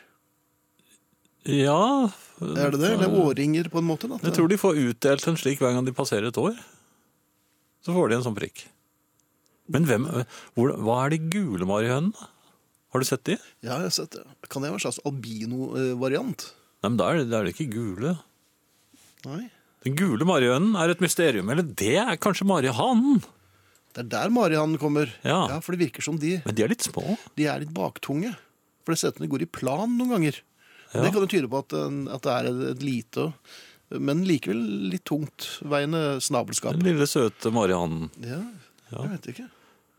Ja, Er det det? Eller årringer, på en måte? Da? jeg tror de får utdelt en slik hver gang de passerer et år. Så får de en sånn prikk. Men hvem, hvor, hva er de gule marihønene? Har du sett de? Ja, jeg har sett det. Kan det være en slags albino-variant? Nei, men da er det, da er det ikke gule. Nei. Den gule marihønen er et mysterium. Eller det er kanskje marihanen. Det er der marihanen kommer. Ja. For det virker som de, Men de er litt små. de er litt baktunge. For det ser ut som de går i plan noen ganger. Det kan jo tyde på at, en- at det er et, et lite, men likevel litt tungtveiende snabelskap. Den lille søte marihanen. Ja, jeg vet ikke.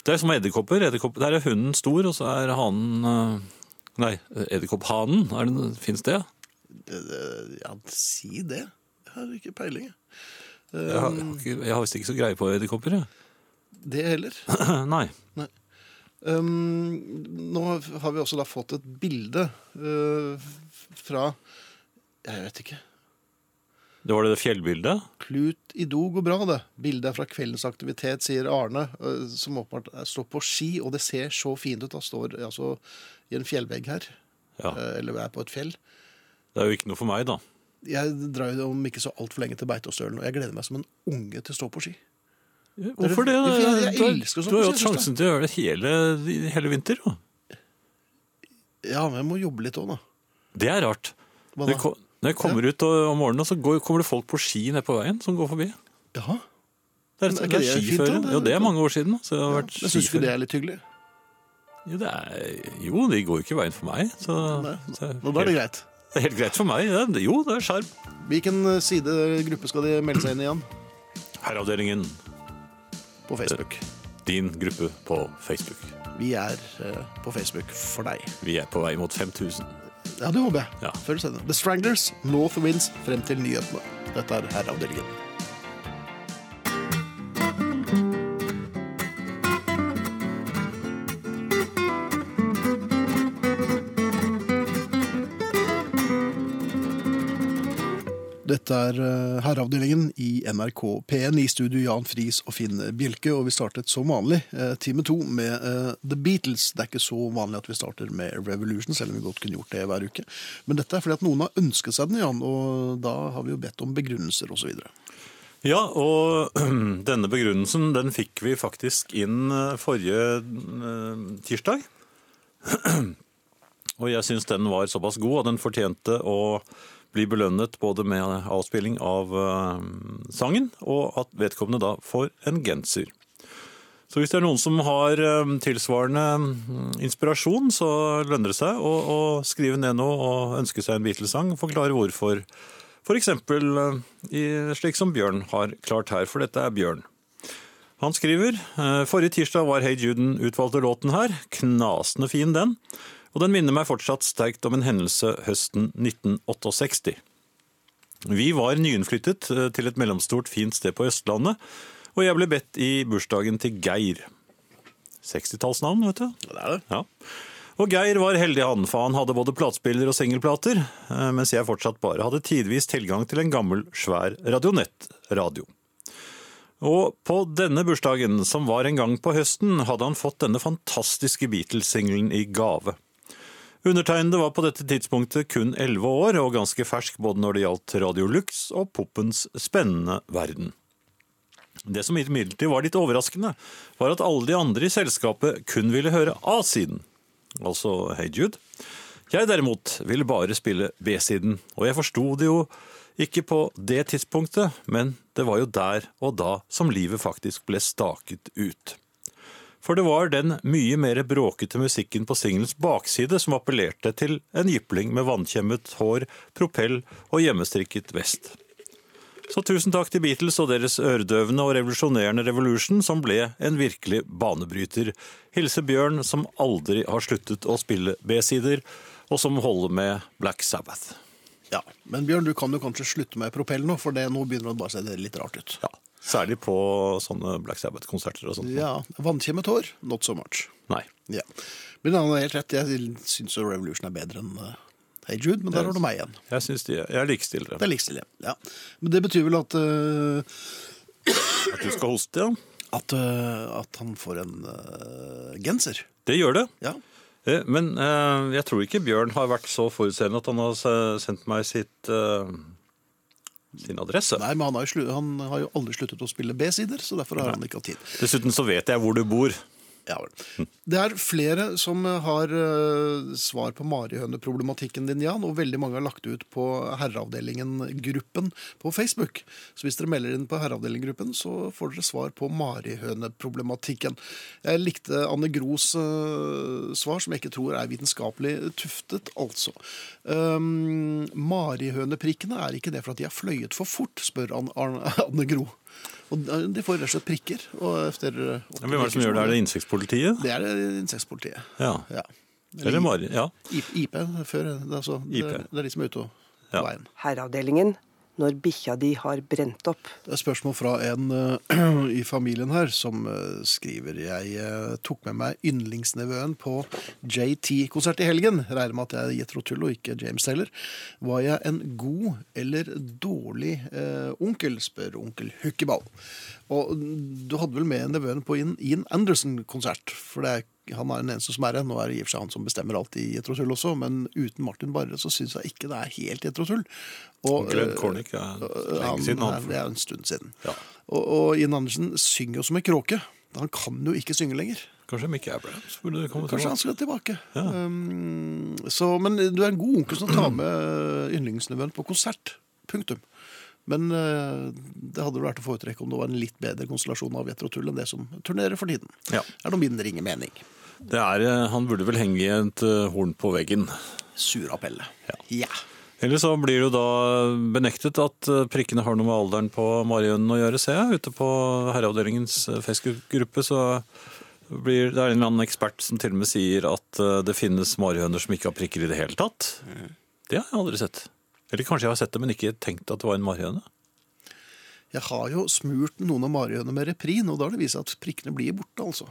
Det er som edderkopper. edderkopp- Der er hunden stor, og så er hanen eh, Nei, edderkopphanen. Er det- Fins det? Det- det- Ja, si det. Jeg har ikke peiling. jeg. Jeg har, jeg har ikke- jeg har visst ikke så greie på edderkopper, jeg. Det heller. Nei. Um, nå har vi også da fått et bilde uh, fra Jeg vet ikke. Det var det det fjellbildet? Klut i do går bra, det. Bildet er fra kveldens aktivitet, sier Arne, eh, som åpenbart er- står på ski, og det ser så fint ut. Han står altså i en fjellvegg her, Ja. eh, eller er på et fjell. Det er jo ikke noe for meg, da. Jeg drar jo om ikke så altfor lenge til Beitostølen, og jeg gleder meg som en unge til å stå på ski. Hvorfor det? Jeg Du har- elsker sånt, Du har jo jeg hatt synes sjansen til å gjøre det hele, hele vinter. jo. Ja, men jeg må jobbe litt òg, da. Det er rart. Hva Når jeg, da? ko- når jeg kommer ut og- om morgenen, så går, kommer det folk på ski nede på veien som går forbi. Jaha. Det Men er er, ikke det er det fint, da? skiføre. Jo, det er mange år siden. Så jeg har vært Jeg syns ikke skiføre. det er litt hyggelig. Jo, det er, jo, de går jo ikke veien for meg. Så, så Nå er det greit. Det er helt greit for meg. Ja. Jo, det er skjerm. Hvilken eh, side gruppe skal de melde seg inn i igjen? Herreavdelingen, eh, På Facebook. din gruppe på Facebook. Vi er eh, på Facebook for deg. Vi er på vei mot 5000. Ja, det håper jeg. Ja. Før eller senere. The Stranglers, North Winds, frem til nyhetene. Dette er Herreavdelingen. Dette er eh, Herreavdelingen i NRK P1 i studio Jan Friis og Finn Bjelke. Og vi startet som vanlig eh, time to med eh, The Beatles. Det er ikke så vanlig at vi starter med Revolution, selv om vi godt kunne gjort det hver uke. Men dette er fordi at noen har ønsket seg den, Jan, og da har vi jo bedt om begrunnelser osv. Ja, og denne begrunnelsen den fikk vi faktisk inn eh, forrige eh, tirsdag. Og jeg syns den var såpass god, og den fortjente å bli belønnet både med avspilling av eh, sangen, og at vedkommende da får en genser. Så hvis det er noen som har eh, tilsvarende mm, inspirasjon, så lønner det seg å, å skrive ned noe og ønske seg en Beatles-sang. Forklare hvorfor. For eksempel eh, i, slik som Bjørn har klart her, for dette er Bjørn. Han skriver eh, Forrige tirsdag var Hey Juden utvalgte låten her. Knasende fin, den. Og den minner meg fortsatt sterkt om en hendelse høsten 1968. Vi var nyinnflyttet eh, til et mellomstort, fint sted på Østlandet, og jeg ble bedt i bursdagen til Geir. 60-tallsnavn, vet du. Det er det. Ja. Og Geir var heldig han, for han hadde både platespiller og singelplater, eh, mens jeg fortsatt bare hadde tidvis tilgang til en gammel, svær Radionett-radio. Og på denne bursdagen, som var en gang på høsten, hadde han fått denne fantastiske Beatles-singelen i gave. Undertegnede var på dette tidspunktet kun elleve år, og ganske fersk både når det gjaldt Radio Lux og poppens spennende verden. Det som imidlertid var litt overraskende, var at alle de andre i selskapet kun ville høre A-siden, altså Hey Jude. Jeg derimot ville bare spille B-siden, og jeg forsto det jo ikke på det tidspunktet, men det var jo der og da som livet faktisk ble staket ut. For det var den mye mer bråkete musikken på singelens bakside som appellerte til en jypling med vannkjemmet hår, propell og hjemmestrikket vest. Så tusen takk til Beatles og deres øredøvende og revolusjonerende Revolution, som ble en virkelig banebryter. Hilse Bjørn, som aldri har sluttet å spille B-sider, og som holder med Black Sabbath. Ja, Men Bjørn, du kan jo kanskje slutte med propell nå, for det, nå begynner det bare å se litt rart ut. Ja, Særlig på sånne Black Sabbath-konserter og sånt. Ja, Vannkjemmet hår, not so much. Nei. Ja. Men han har helt rett, jeg syns jo Revolution er bedre enn eh, Hey Jude, men der har du meg igjen. Jeg, synes de, jeg likestiller Det dem. er likestilling. Ja. Men det betyr vel at eh, At du skal hoste, ja. at, eh, at han får en eh, genser. Det gjør det. Ja. Eh, Men eh, jeg tror ikke Bjørn har vært så forutseende at han har se- sendt meg sitt, eh, sin adresse. Nei, men han har, jo slu, han har jo aldri sluttet å spille B-sider, så derfor har han ikke hatt tid. Dessuten så vet jeg hvor du bor. Ja, vel. Det er flere som har eh, svar på marihøneproblematikken din, Jan, og veldig mange har lagt ut på Herreavdelingen-gruppen på Facebook. Så hvis dere melder inn på Herreavdelingen-gruppen, så får dere svar på marihøneproblematikken. Jeg likte Anne Gros eh, svar, som jeg ikke tror er vitenskapelig tuftet, altså. Um, marihøneprikkene, er ikke det for at de har fløyet for fort, spør Anne, Arne, Anne Gro. Og eh, de får rett og slett prikker. Og efter, eh, Hvem er det som gjør det? Er det Insektpolitiet? Det er det insektpolitiet. Ja. Ja. Eller Mari? Ja. I- IP før. Det er, altså, IP. Det, er, det er de som er ute og på Ja. veien. Herreavdelingen når bikkja di har brent opp. Det er spørsmål fra en eh, i familien her som eh, skriver Jeg eh, tok med meg yndlingsnevøen på JT-konsert i helgen. Regner med at jeg er Jethro Tull og ikke James Taylor. Var jeg en god eller dårlig eh, onkel, spør onkel Hukkeball. Og du hadde vel med nevøen på Ian- Ian Anderson-konsert, for det er han er den eneste som er det. Nå er det i og for seg han som bestemmer alt i Jethro Tull også, men uten Martin Barre så syns jeg ikke det er helt Jethro Tull. Og, Onkel Ed eh, Cornick er han, lenge siden han. det er jo en stund siden. Ja. Og, og Ian Andersen synger jo som en kråke. Han kan jo ikke synge lenger. Kanskje Mick Abrahams burde komme Kanskje han tilbake. skal tilbake. Um, så, men du er en god onkel som tar med yndlingsnevøen på konsert. Punktum. Men eh, det hadde vel vært å foretrekke om det var en litt bedre konstellasjon av Jetter og Tull enn det som turnerer for tiden. Ja. Er det min ringe mening. Det er, eh, han burde vel henge et eh, horn på veggen. Surappelle. Ja. Eller så blir det jo da benektet at eh, prikkene har noe med alderen på marihønen å gjøre, ser jeg. Ute på herreavdelingens eh, Facebook-gruppe så blir det er en eller annen ekspert som til og med sier at eh, det finnes marihøner som ikke har prikker i det hele tatt. Mm. Det har jeg aldri sett. Eller kanskje jeg har sett det, men ikke tenkt at det var en marihøne. Jeg har jo smurt noen av marihønene med reprin, og da har det vist seg at prikkene blir borte, altså.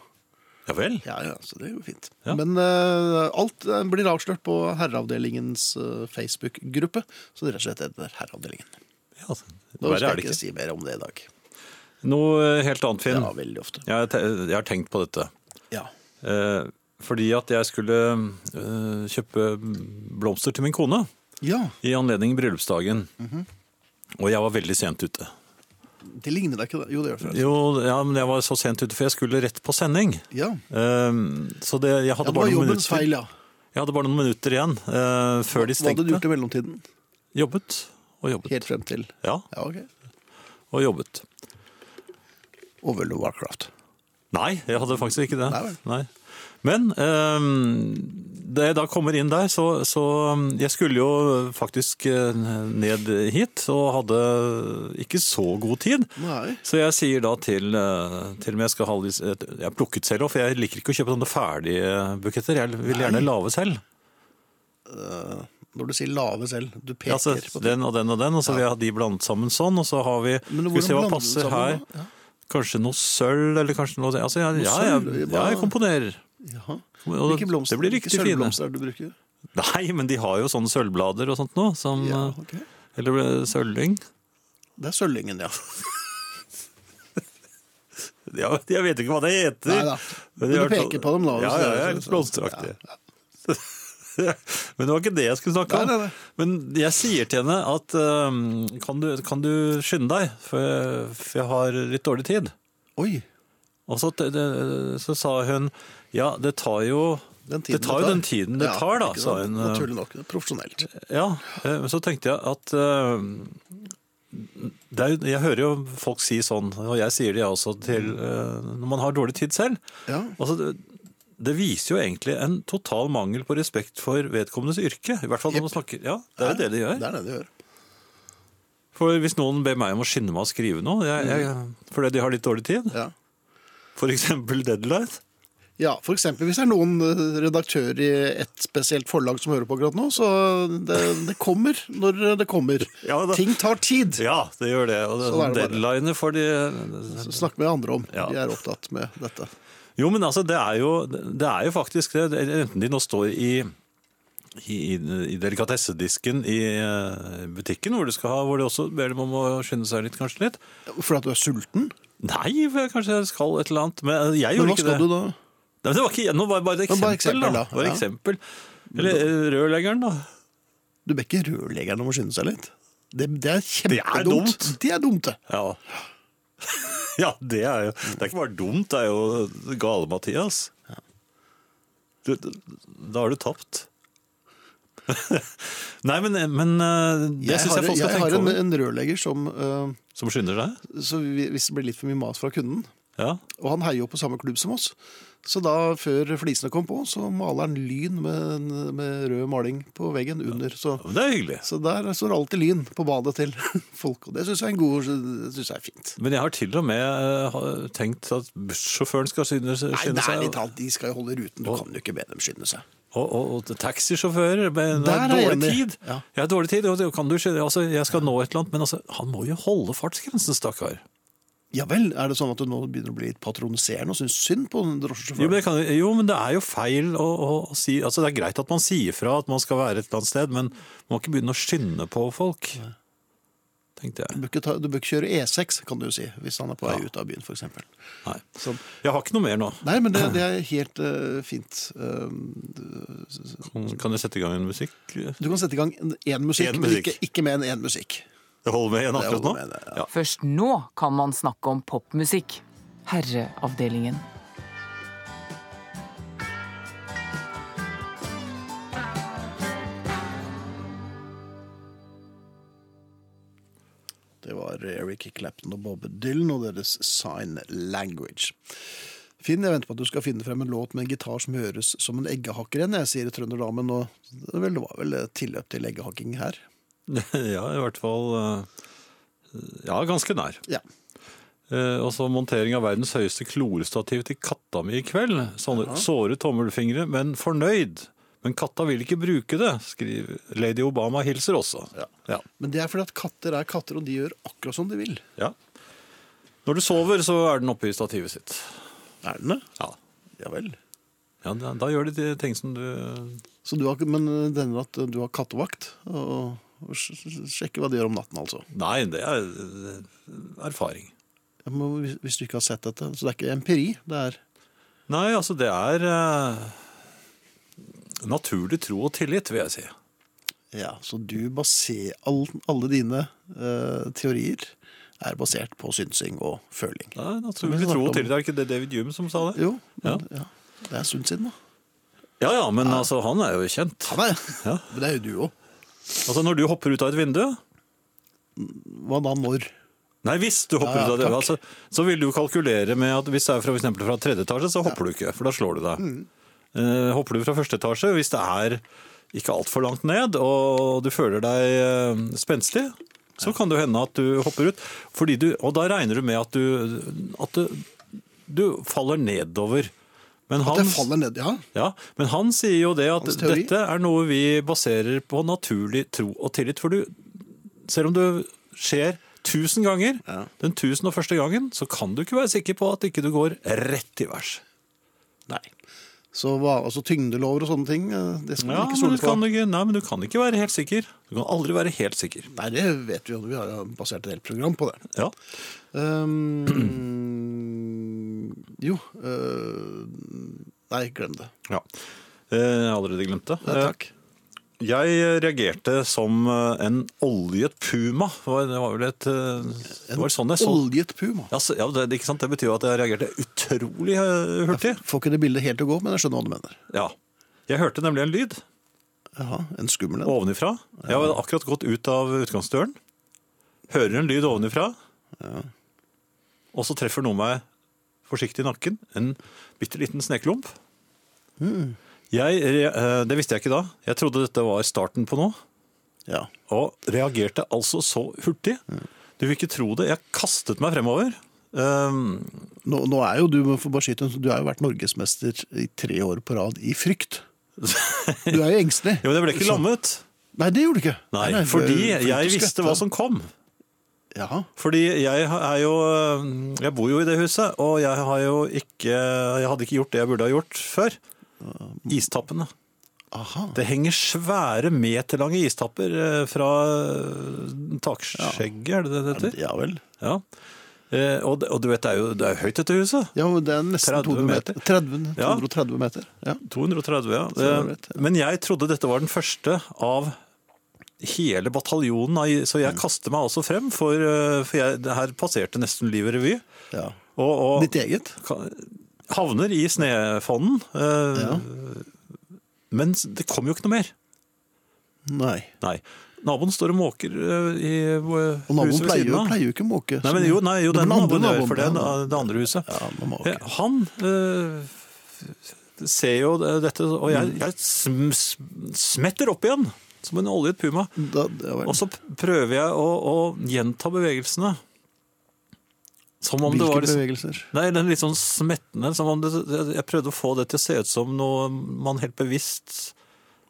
Ja vel? Ja, ja, så det er jo fint. Ja. Men eh, alt eh, blir avslørt på herreavdelingens eh, Facebook-gruppe. Så det er rett og slett heter Herreavdelingen. Ja, altså. Nå skal verre er jeg det ikke ikke. si mer om det i dag. Noe eh, helt annet, Finn. Ja, veldig ofte. Jeg, har te- jeg har tenkt på dette. Ja. Eh, fordi at jeg skulle eh, kjøpe blomster til min kone ja, i anledning bryllupsdagen. Mhm. Og jeg var veldig sent ute. det ligner deg ikke. da. Jo, det gjør det. forresten. Jo, ja, men jeg var så sent ute, for jeg skulle rett på sending. Ja. Eh, så det, jeg, ja, hadde det bare var noen jobbens minutter, feil, ja. jeg hadde bare noen minutter igjen eh, før de Hva hadde du stengte. gjort i mellomtiden? Jobbet og jobbet. Helt frem til Ja, Ja, ok. og jobbet. Og World of Warcraft. Nei, jeg hadde faktisk ikke det. Nei vel. Nei. Men eh, da jeg da kommer inn der, så, så eh, Jeg skulle jo faktisk eh, ned hit, og hadde ikke så god tid. Nei. Så jeg sier da til eh, Til og med jeg skal ha litt- Jeg har plukket selv òg, for jeg liker ikke å kjøpe sånne ferdige buketter. Jeg vil gjerne lage selv. Eh, når du sier lave selv, du peker Ja, altså, på det. den og den og den, og så vil jeg ha de blandet sammen sånn, og så har vi Men Skal vi se hvordan blander du hva passer sammen her. da? Ja. Kanskje noe sølv, eller kanskje noe altså, jeg, Noe ja, jeg, sølv? ja, jeg Hva- komponerer. Jaha. Og Hvilke blomster, Det blir riktig hvilke fine. sølvblomster er det du bruker? Nei, men de har jo sånne sølvblader og sånt nå. Som, Ja, eh, ok. Eller eh, sølvlyng. Det er sølvlyngen, ja. Ja, jeg vet ikke hva det heter. Neida. Men du peker på dem da, hvis Ja, det ja, er jeg er sånn- litt blomsteraktig. Men det var ikke det jeg skulle snakke om. Nei, nei, nei. Men jeg sier til henne at eh, kan, du, kan du skynde deg, for jeg, for jeg har litt dårlig tid. Oi, Og så, t- det- så sa hun ja, det tar jo den tiden det tar jo den tiden det tar, da, ikke sa sant? hun. eh, Naturlig nok. Profesjonelt. Ja, eh, men så tenkte jeg at eh, det er, jo- Jeg hører jo folk si sånn, og jeg sier det jeg også til eh, når man har dårlig tid selv. Mm. Ja. Altså, det, det viser jo egentlig en total mangel på respekt for vedkommendes yrke. I hvert fall når man snakker Ja, det er jo det de gjør. Det er det de gjør. For hvis noen ber meg om å skynde meg å skrive noe jeg, jeg, fordi de har litt dårlig tid, Mm. Ja. f.eks. deadline Ja, for eksempel hvis det er noen eh, redaktører i et spesielt forlag som hører på akkurat nå, så det, det kommer når det kommer. Ja, da- Ting tar tid! Ja, det gjør det. Og det, Sånn er det bare. deadliner for de Så Snakk med andre om. Ja. De er opptatt med dette. Jo, men altså, det er jo, det er jo faktisk det. det- Enten de nå står i, i, i delikatessedisken i eh, butikken, hvor de, skal ha, hvor de også ber dem om å skynde seg litt, kanskje litt. For at du er sulten? Nei, for jeg kanskje jeg skal et eller annet. Men eh, jeg Men gjorde hva ikke skal det. du da? Nei, men det var ikke, nå var det bare et Men eksempel, bare eksempel, da. da. Bare Ja. eksempel. Eller eh, rørleggeren, da. Du ber ikke rørleggeren om å skynde seg litt? Det, det er er kjempedumt. dumt. Det er dumt, det. Ja. ja, det er jo Det er ikke bare dumt, det er jo gale, Mathias. Du, du- da har du tapt. Nei, men, men eh, det Jeg syns jeg har, folk jeg skal har tenke en, over. en rørlegger som eh, Som skynder seg? så vi- Hvis det blir litt for mye mas fra kunden, Ja. Og han heier jo på samme klubb som oss. Så da, før flisene kom på, så maler han lyn med, med rød maling på veggen under. Så, Men Det er hyggelig. så der står alltid lyn på badet til folk, og det syns jeg er en god Det synes jeg er fint. Men jeg har til og med eh, ha- tenkt at bussjåføren skal skynde, Nei, skynde ærlig seg. talt, de skal jo holde ruten. Du kan jo ikke be dem skynde seg. Og, og, og taxisjåfører men det Der er er jeg dårlig enig. tid. Ja. Jeg har dårlig tid, og det kan du skynde altså, Jeg skal nå et eller annet, men altså, han må jo holde fartsgrensen, stakkar. Ja vel, er det sånn at du nå begynner å bli litt patroniserende og synes synd på den Jo, men drosjesjåføren? det kan, jo, men det er jo feil å, å si altså, Det er greit at man sier fra at man skal være et eller annet sted, men man må ikke begynne å skynde på folk. Tenkte Du jeg. bør, ikke ta, du bør ikke kjøre E6, kan du jo si, hvis han er på vei ut av byen, f.eks. Nei. Sånn. Jeg har ikke noe mer nå. Nei, men det, det er helt eh, fint. Eh, Kan jeg sette i gang en musikk? du kan sette i gang én musikk, En men musikk. ikke, ikke med en én musikk. Det holder med en akkurat nå? holder med det, ja. Ja. Først nå kan man snakke om popmusikk. Herreavdelingen. Det var Eric Clapton og Bob Dylan og deres Sign Language. Finn, jeg venter på at du skal finne frem en låt med en gitar som høres som en eggehakker igjen. Jeg sier trønderdamen, og det var vel- det var vel et tilløp til eggehakking her. Ja, i hvert fall eh, Ja, ganske nær. Ja. Eh, Og så montering av verdens høyeste klorestativ til katta mi i kveld. Sånne såre tommelfingre, men fornøyd. Men katta vil ikke bruke det, skriver Lady Obama hilser også. Ja. Ja. Men det er fordi at katter er katter, og de gjør akkurat som de vil. Ja. Når du sover, så er den oppe i stativet sitt. Er den det? Ja. Ja vel. ja da, da gjør de de ting som du Så du har, ikke- men denne at du har kattevakt, og, og sj- sj- sjekker hva de gjør om natten, altså. Nei, det er eh, erfaring. Ja, men Hvis, hvis du ikke har sett dette. Så det er ikke empiri, det er Nei, altså det er eh, naturlig tro og tillit, vil jeg si. Ja, så du baserer all, alle dine eh, teorier er basert på synsing og føling. Det er Men vi naturlig snakket tro og om- tillit. Er ikke det David Hume som sa det? Jo, men, Ja. ja. det er en stund siden, da. Ja ja, men altså, han er jo kjent. Han er, Ja. Men det er jo du òg. Altså når du hopper ut av et vindu Hva da, når? Nei, hvis du Ja, hopper ja, ut av det, Ah, takk. altså, så vil du kalkulere med at hvis det er fra, for eksempel fra tredje etasje, så hopper du ikke, for da slår du deg. Mm. Eh, hopper du fra første etasje, hvis det er ikke altfor langt ned, og du føler deg eh, spenstig, så kan det jo hende at du hopper ut. Fordi du, og da regner du med at du, at du, du faller nedover. Men At jeg han- faller ned, ja. Ja, men han sier jo det at Hans teori? dette er noe vi baserer på naturlig tro og tillit. For du, selv om det skjer tusen ganger, Ja. den tusen og første gangen, så kan du ikke være sikker på at ikke du går rett i vers. Nei. Så hva, altså tyngdelover og sånne ting, eh, det skal Ja, man ikke men stole du, på. kan ikke, nei, men du kan ikke være helt sikker. Du kan aldri være helt sikker. Nei, det vet vi jo. Vi har jo basert et helt program på det. Ja. Ehm, jo eh, Nei, glem det. ja. Eh, Jeg har allerede glemt det. Nei, takk. Eh, Jeg reagerte som eh, en oljet puma. Det var- Det var vel et eh, Det var sånn jeg så Oljet puma. ja, så- ja, det, ikke sant? det betyr jo at jeg reagerte utrolig eh, hurtig. Får ikke det bildet helt til å gå, men jeg skjønner hva du mener. Ja. Jeg hørte nemlig en lyd Jaha, En skummel en. ovenifra. Jeg hadde akkurat gått ut av utgangsdøren. Hører en lyd ovenifra. Og så treffer noe meg forsiktig i nakken. En bitte liten sneklump. Mm. Jeg, re- eh, det visste jeg ikke da. Jeg trodde dette var starten på noe. Ja. Og reagerte altså så hurtig. Du vil ikke tro det. Jeg kastet meg fremover. Um, Nå, nå er jo du må få bare skyte, en- du har jo vært norgesmester i tre år på rad i frykt. Du er jo engstelig. jo, men jeg ble ikke Så- lammet. Nei, det gjorde du ikke. Nei, Nei, nei, fordi det er jo jeg frykt og visste skvett, hva da. som kom. Jaha. Fordi jeg er jo eh, Jeg bor jo i det huset, og jeg har jo ikke Jeg hadde ikke gjort det jeg burde ha gjort før. Istappene. Aha. Det henger svære meterlange istapper eh, fra eh, takskjegget, er det det det heter? Ja vel. Ja. Eh, Og, det- og du vet, det er jo det er jo høyt, dette huset. Ja, men det er nesten 30 200 meter. 30, Ja. 230 meter. Ja. 230, ja. Så jeg vet, Eh, Men jeg trodde dette var den første av hele bataljonen, av- så jeg kaster meg altså frem, for, eh, for jeg, det her passerte nesten livet revy. ja. Og, og, Ditt eget? ka- havner i snefonden, eh, Ja. men det kom jo ikke noe mer. Nei. Nei. Naboen står og måker eh, i eh, Og naboen huset ved pleier, siden jo- av. pleier jo ikke å måke. Nei, så men mye. jo, nei, jo Men den den andre naboen gjør for det, naboen, ja. er det andre huset. Ja, den må Eh, måke. Han eh, ser jo eh, dette, Mm. og jeg, jeg sm sm- smetter opp igjen, som en oljet puma. Da, ja vel. Og sånn så prøver jeg å, å gjenta bevegelsene. Som om Hvilke det var liksom, bevegelser? Nei, den litt sånn smettende, som om det, jeg prøvde å få det til å se ut som noe man helt bevisst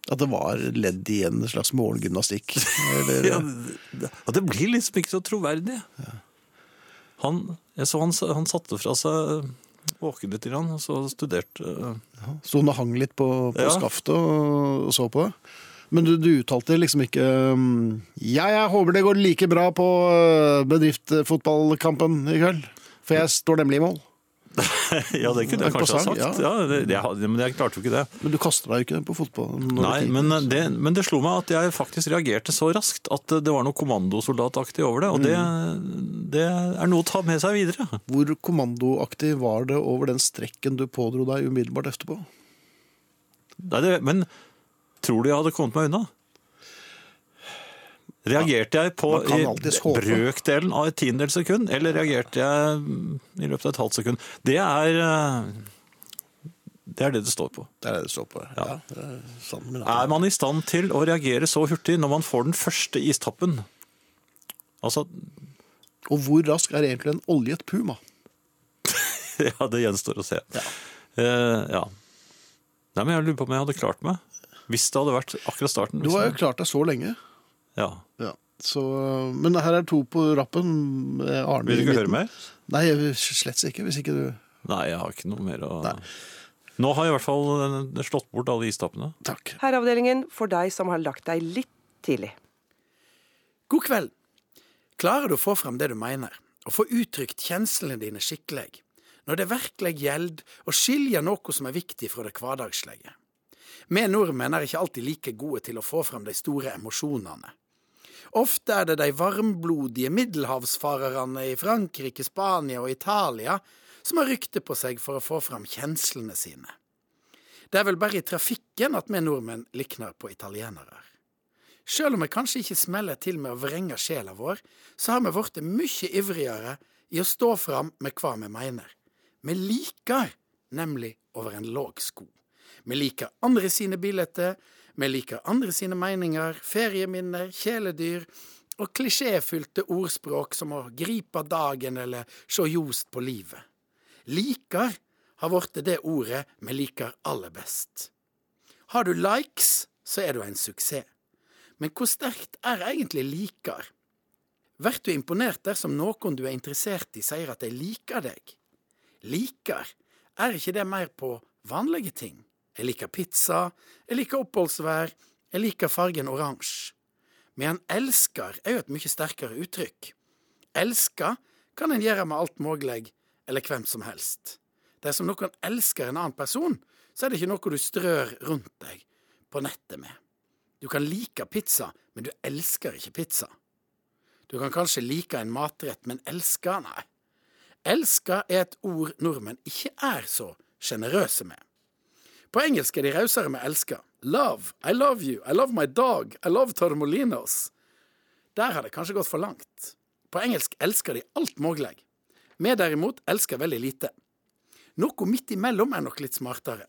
At det var ledd i en slags morgengymnastikk? Eller, ja, Og det blir liksom ikke så troverdig. Han, jeg så han, han satte fra seg våken litt, grann, og så studerte eh, Så hun hang litt på, på Ja. skaftet og, og så på det. Men du, du uttalte liksom ikke um, Ja, jeg håper det går like bra på uh, bedriftfotballkampen i kveld. For jeg står nemlig i mål. Ja, det kunne jeg kanskje ha Interessant, sagt, ja. det, det, men jeg klarte jo ikke det. Men du kaster deg jo ikke på fotball. når Nei, du- men det, men det slo meg at jeg faktisk reagerte så raskt at det var noe kommandosoldataktig over det, og det, det er noe å ta med seg videre. Hvor kommandoaktig var det over den strekken du pådro deg umiddelbart etterpå? Nei, det, men tror du jeg hadde kommet meg unna? Reagerte jeg på Man kan alltids i håpe. brøkdelen av et tiendedels sekund, eller reagerte jeg mm, i løpet av et halvt sekund? Det er eh, det er det det står på. Det er det det står på. Ja. det er sant, men- Er man i stand til å reagere så hurtig når man får den første istappen? Altså, Og hvor rask er egentlig en oljet puma? ja, det gjenstår å se. Eh, ja. Nei, men jeg lurer på om jeg hadde klart meg. Hvis det hadde vært akkurat starten. Du har jo liksom. klart deg så lenge. Ja. Ja. Så, øh, men her er to på rappen. eh, Arne Vil du i ikke midten. høre mer? Nei, jeg- slett ikke, hvis ikke du Nei, jeg har ikke noe mer å Nå har jeg i hvert fall eh, slått bort alle istappene. Takk. Herreavdelingen for deg som har lagt deg litt tidlig. God kveld. Klarer du å få frem det du mener, og få uttrykt kjenslene dine skikkelig, når det virkelig gjelder å skilje noe som er viktig fra det hverdagslige? Vi nordmenn er ikke alltid like gode til å få frem de store emosjonene. Ofte er det de varmblodige middelhavsfarerne i Frankrike, Spania og Italia som har rykte på seg for å få frem kjenslene sine. Det er vel bare i trafikken at vi nordmenn likner på italienere. Sjøl om vi kanskje ikke smeller til med å vrenge sjela vår, så har vi blitt mye ivrigere i å stå fram med hva vi mener. Vi liker nemlig over en låg sko. Vi liker andre sine bilder, vi liker andre sine meninger, ferieminner, kjæledyr og klisjéfylte ordspråk som å gripe dagen eller sjå ljost på livet. Liker har blitt det ordet vi liker aller best. Har du likes, så er du en suksess. Men hvor sterkt er egentlig liker? Blir du imponert dersom noen du er interessert i, sier at de liker deg? Liker, er ikke det mer på vanlige ting? Jeg liker pizza. Jeg liker oppholdsvær. Jeg liker fargen oransje. Men elsker er jo et mye sterkere uttrykk. Elsker kan en gjøre med alt mulig, eller hvem som helst. Dersom noen elsker en annen person, så er det ikke noe du strør rundt deg på nettet med. Du kan like pizza, men du elsker ikke pizza. Du kan kanskje like en matrett, men elsker nei. Elsker er et ord nordmenn ikke er så sjenerøse med. På engelsk er de rausere med elsker. Love, I love you, I love my dog, I love Tormolinos. Der har det kanskje gått for langt. På engelsk elsker de alt mulig. Vi derimot elsker veldig lite. Noe midt imellom er nok litt smartere.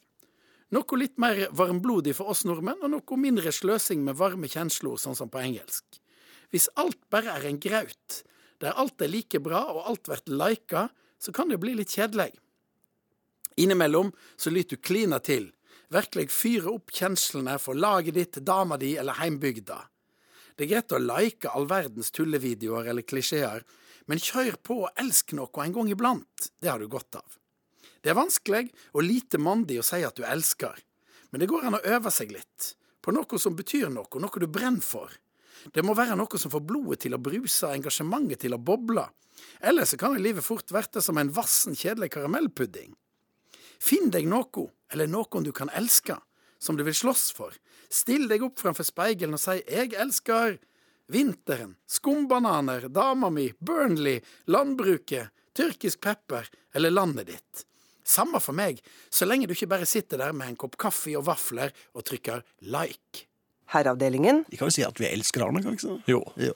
Noe litt mer varmblodig for oss nordmenn, og noe mindre sløsing med varme kjensler, sånn som på engelsk. Hvis alt bare er en graut, der alt er like bra og alt blir lika, så kan det bli litt kjedelig. Innimellom så lyt du klina til, virkelig fyre opp kjenslene for laget ditt, dama di eller heimbygda. Det er greit å like all verdens tullevideoer eller klisjeer, men kjør på og elsk noe en gang iblant, det har du godt av. Det er vanskelig og lite mandig å si at du elsker, men det går an å øve seg litt, på noe som betyr noe, noe du brenner for. Det må være noe som får blodet til å bruse, engasjementet til å boble, ellers så kan jo livet fort verte som en vassen, kjedelig karamellpudding. Finn deg noe, eller noen du kan elske, som du vil slåss for. Still deg opp framfor speilet og si 'Jeg elsker vinteren, skumbananer, dama mi, Burnley, landbruket, tyrkisk pepper eller landet ditt'. Samme for meg, så lenge du ikke bare sitter der med en kopp kaffe og vafler og trykker 'like'. Herreavdelingen. Vi kan jo si at vi elsker hverandre, kan vi ikke det? Jo. Ja.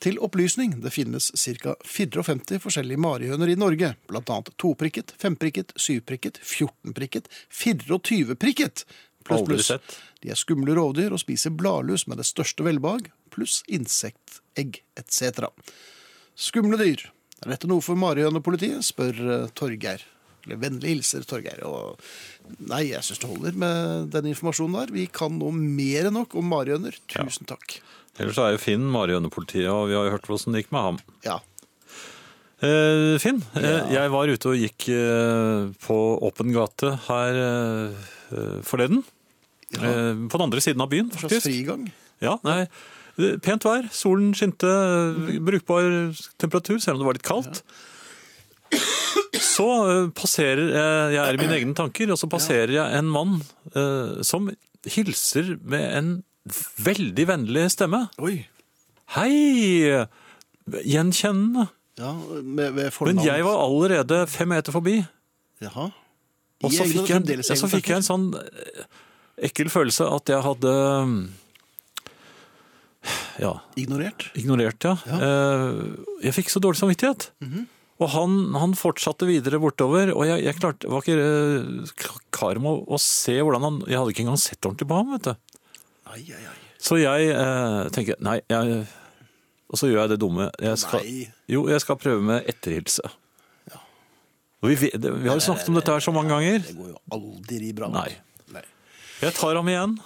Til opplysning, det finnes ca. 54 forskjellige marihøner i Norge. Blant annet toprikket, femprikket, syvprikket, fjortenprikket, 24-prikket. Pluss, Aldri pluss. sett. De er skumle rovdyr og spiser bladlus med det største velbehag, pluss insektegg etc. Skumle dyr. Er dette noe for marihønepolitiet? spør eh, Torgeir. Eller vennlig hilser Torgeir. Og nei, jeg syns det holder med den informasjonen der. Vi kan nå mer enn nok om marihøner. Tusen takk. Ellers er jo Finn marihønepolitiet, og vi har jo hørt hvordan det gikk med ham. Ja, Eh, Finn, eh, jeg var ute og gikk eh, på åpen gate her eh, forleden. Eh, på den andre siden av byen, En slags faktisk. frigang. Ja, nei, eh, Pent vær, solen skinte, eh, brukbar temperatur, selv om det var litt kaldt. Så eh, passerer eh, Jeg er i mine egne tanker, og så passerer jeg en mann eh, som hilser med en veldig vennlig stemme. Oi. Hei! Gjenkjennende. Ja, med, med fornavn. Men jeg var allerede fem meter forbi. Jaha. Og I så egne- fikk jeg, fremdeles ja, så egne fikk jeg en sånn eh, ekkel følelse at jeg hadde Ja, Ignorert. ignorert, ja. Eh, Jeg fikk så dårlig samvittighet. Mhm. Og han, han fortsatte videre bortover, og jeg, jeg klarte, var ikke eh, kar med å, å se hvordan han Jeg hadde ikke engang sett ordentlig på ham, vet du. Ai, ai, ai. Så jeg eh, tenker Nei, jeg Og så gjør jeg det dumme. Jeg skal, Nei. Jo, jeg skal prøve med etterhilse. Og Vi, vet- vi har jo snakket om dette her så mange ganger. Det går jo aldri bra. Nei. Nei. Jeg tar ham igjen.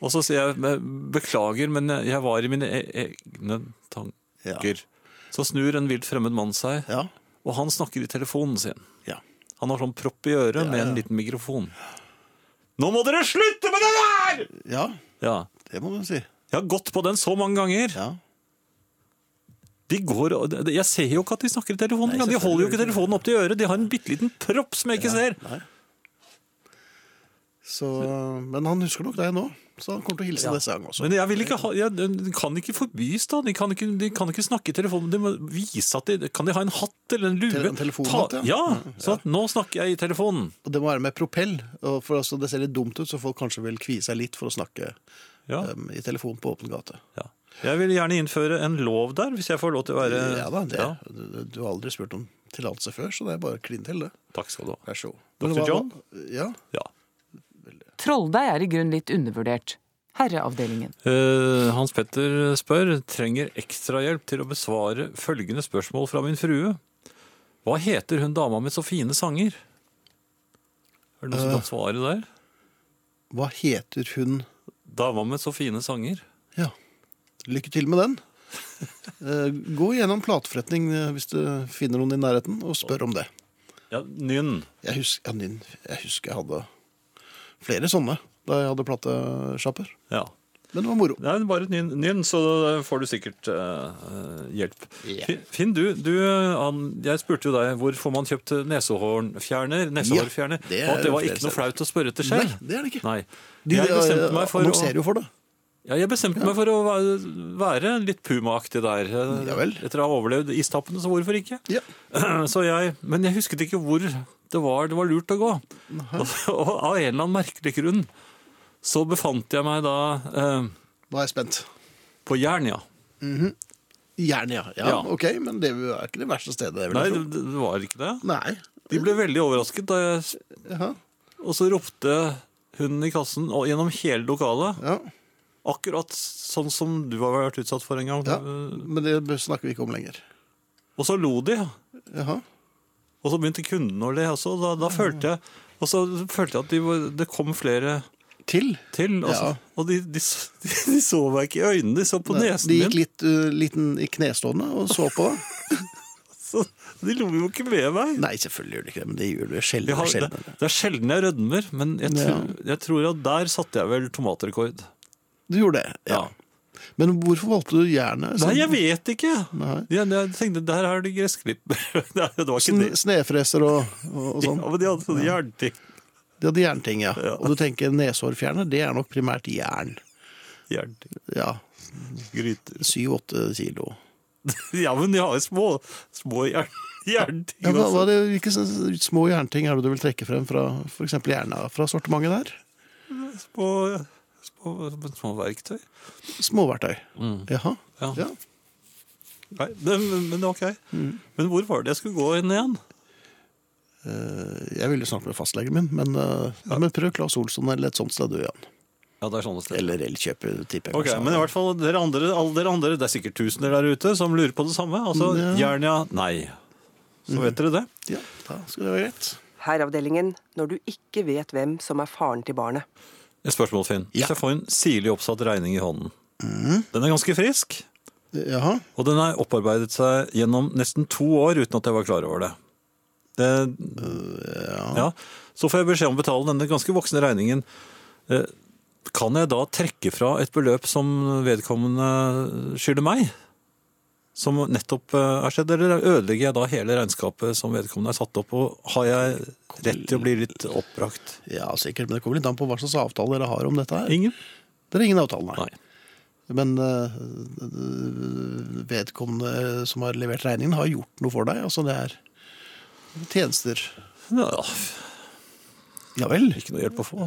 Og så sier jeg beklager, men jeg var i mine e egne tanker. Så snur en vilt fremmed mann seg, Ja. og han snakker i telefonen sin. Ja. Han har sånn propp i øret med en liten mikrofon. Nå må dere slutte med det der! ja, Ja. det må man si. Jeg har gått på den så mange ganger. Ja. De går, og- det- jeg ser jo ikke at de snakker i telefonen. Nei, engang. de selvfølgelig holder jo ikke ikke. telefonen opp til øret. De har en bitte liten propp som jeg ikke ser. Nei. Så, men han husker nok deg nå, så han kommer til å hilse neste gang også. Men jeg vil ikke ha, jeg, de kan ikke forbys, da. De kan ikke, de kan ikke snakke i telefonen. De må vise at de, Kan de ha en hatt eller en lue? Te- en telefonhatt, Ta- ja. ja. Så at nå snakker jeg i telefonen. Og det må være med propell, og for altså, det ser litt dumt ut, så folk kanskje vil kvie seg litt for å snakke Ja, em, i telefon på åpen gate. ja. Jeg vil gjerne innføre en lov der, hvis jeg får lov til å være ja da, det, Ja, Du, du har aldri spurt om tillatelse før, så det er bare å kline til det. Takk skal du ha. Vær så god. Dr. Men hva- John? Ja. Ja. Trolldeig er i grunnen litt undervurdert. Herreavdelingen. Eh, Hans Petter spør trenger ekstrahjelp til å besvare følgende spørsmål fra min frue. Hva heter hun dama med så fine sanger? Er det noen som kan Eh. svare der? Hva heter hun Dama med så fine sanger. Ja. Lykke til med den. Eh, Gå gjennom plateforretning eh, hvis du finner noen i nærheten, og spør om det. Ja, Nynn. Jeg husker, ja, Ninn, jeg husker jeg hadde flere sånne da jeg hadde platesjapper. Ja. Men det var moro. Nei, bare et nynn, nynn, så da får du sikkert eh, hjelp. Ja. Finn- Finn, du, du han, jeg spurte jo deg hvor får man kjøpt nesehårfjerner? nesehårfjerner det og at det er var flere ikke noe steder. flaut å spørre etter Nei, selv. det er det ikke. Nei. De Jeg de, bestemte meg for å, annonserer jo for det. ja, jeg bestemte meg for å være, være litt pumaaktig der. eh, Ja vel. Etter å ha overlevd istappene, så hvorfor ikke? Ja. Så jeg, men jeg husket ikke hvor det var det var lurt å gå. Og av en eller annen merkelig grunn så befant jeg meg da eh, Nå er jeg spent. på Jernia. Gjerne, ja. ja. Ja. Ok, men det er ikke det verste stedet. Jeg vil Nei, jeg tro. det, det var ikke det. Nei. De ble veldig overrasket, da jeg, Jaha. og så ropte hun i kassen og gjennom hele lokalet. Ja. Akkurat sånn som du har vært utsatt for en gang. ja. Eh, Men det snakker vi ikke om lenger. Og så lo de, Jaha. og så begynte kundene å le også. og Da, da følte jeg, og så følte jeg at de, var- det kom flere Til. til. Og, så, Ja. og de, de, s- de så meg ikke i øynene, de så på Nei, nesen De min. gikk litt uh, liten i knestående og så på. Så de lo jo ikke med meg. Nei, selvfølgelig gjør de ikke det, men det gjør de Jeg sjelden. har, det, sjelden. det er sjelden jeg rødmer, men jeg, tror- jeg tror at der satte jeg vel tomatrekord. Du gjorde det, ja. Ja. Men hvorfor valgte du sånn jernet? Nei, jeg vet ikke! Nei. Jeg, jeg tenkte, der er det gressklipper. Nei, det var ikke Sn det. Snefreser og, og, og Ja, sånn. men de hadde sånne jernting. De hadde jernting, ja. Ja. Og du tenker neshårfjerner, det er nok primært jern. jernting. Ja, Gryter. syv-åtte kilo. Ja, men de har jo små, små jern, jernting. Ja, hva, hva også. er det, hvilke sånne små jernting er det du vil trekke frem fra f.eks. jerna fra sortimentet der? Små, små, små verktøy. Småverktøy. Mm. Jaha. Ja. Ja. Mm. Nei, men, men ok. Men hvor var det jeg skulle gå inn igjen? Eh, Jeg ville snart med fastlegen min, men, eh, ja. men prøv Claes Olsson eller et sånt sted, du, Jan. Ja, det er sånne steder. Eller Elkjøper, tipper jeg. Ok, kanskje. men i hvert fall dere andre, alle dere andre, det er sikkert tusener der ute som lurer på det samme. Altså, Ja. Mm. Jernia, nei. Så vet dere det. Ja, da skal det være greit. Herreavdelingen når du ikke vet hvem som er faren til barnet. Et spørsmål, Finn. Ja. Hvis jeg får en sirlig oppsatt regning i hånden, den er ganske frisk, Jaha. og den har opparbeidet seg gjennom nesten to år uten at jeg var klar over det. det Øh, ja. Så får jeg beskjed om å betale denne ganske voksne regningen. Eh, Kan jeg da trekke fra et beløp som vedkommende skylder meg? Som nettopp eh, er skjedd, eller ødelegger jeg da hele regnskapet som vedkommende er satt opp, og har jeg rett til å bli litt oppbrakt? Ja, sikkert. Men det kommer litt an på hva slags avtale dere har om dette her. Ingen? Det er ingen avtale, nei. Nei. Men eh, vedkommende som har levert regningen, har gjort noe for deg. Altså, det er tjenester. Ja, Ja vel? ikke noe hjelp å få.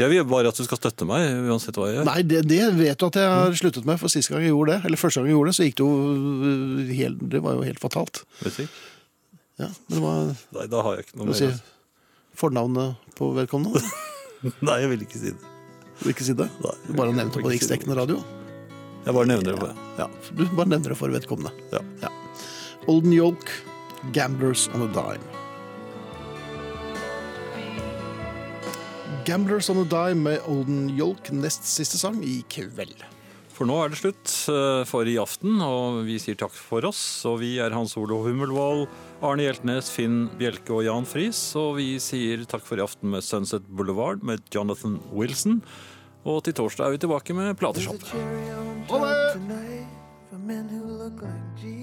Jeg vil bare at du skal støtte meg, uansett hva jeg gjør. Nei, det, det vet du at jeg har sluttet med, for sist gang jeg gjorde det, eller første gang jeg gjorde det, så gikk det jo øh, helt, det var jo helt fatalt. Vet du ikke? Ja, men det var Nei, da har jeg ikke noe hva mer. skal å jeg si, fornavnet på vedkommende. Nei, jeg vil ikke si det. Du vil ikke si det? Nei. Du bare nevnte det på riksdekkende radio. Jeg bare nevner det. bare. Ja. Du bare nevner det for vedkommende. Ja. Olden Yolk, Gamblers on a Dime. Gamblers on a Dime med Olden Yolk, nest siste sang i kveld. For nå er det slutt eh, for i aften, og vi sier takk for oss. Og vi er Hans Olo Hummelvold, Arne Hjeltnes, Finn Bjelke og Jan Friis. Og vi sier takk for i aften med Sunset Boulevard med Jonathan Wilson. Og til torsdag er vi tilbake med Platesjappe. Ha det! For men who look like Jesus.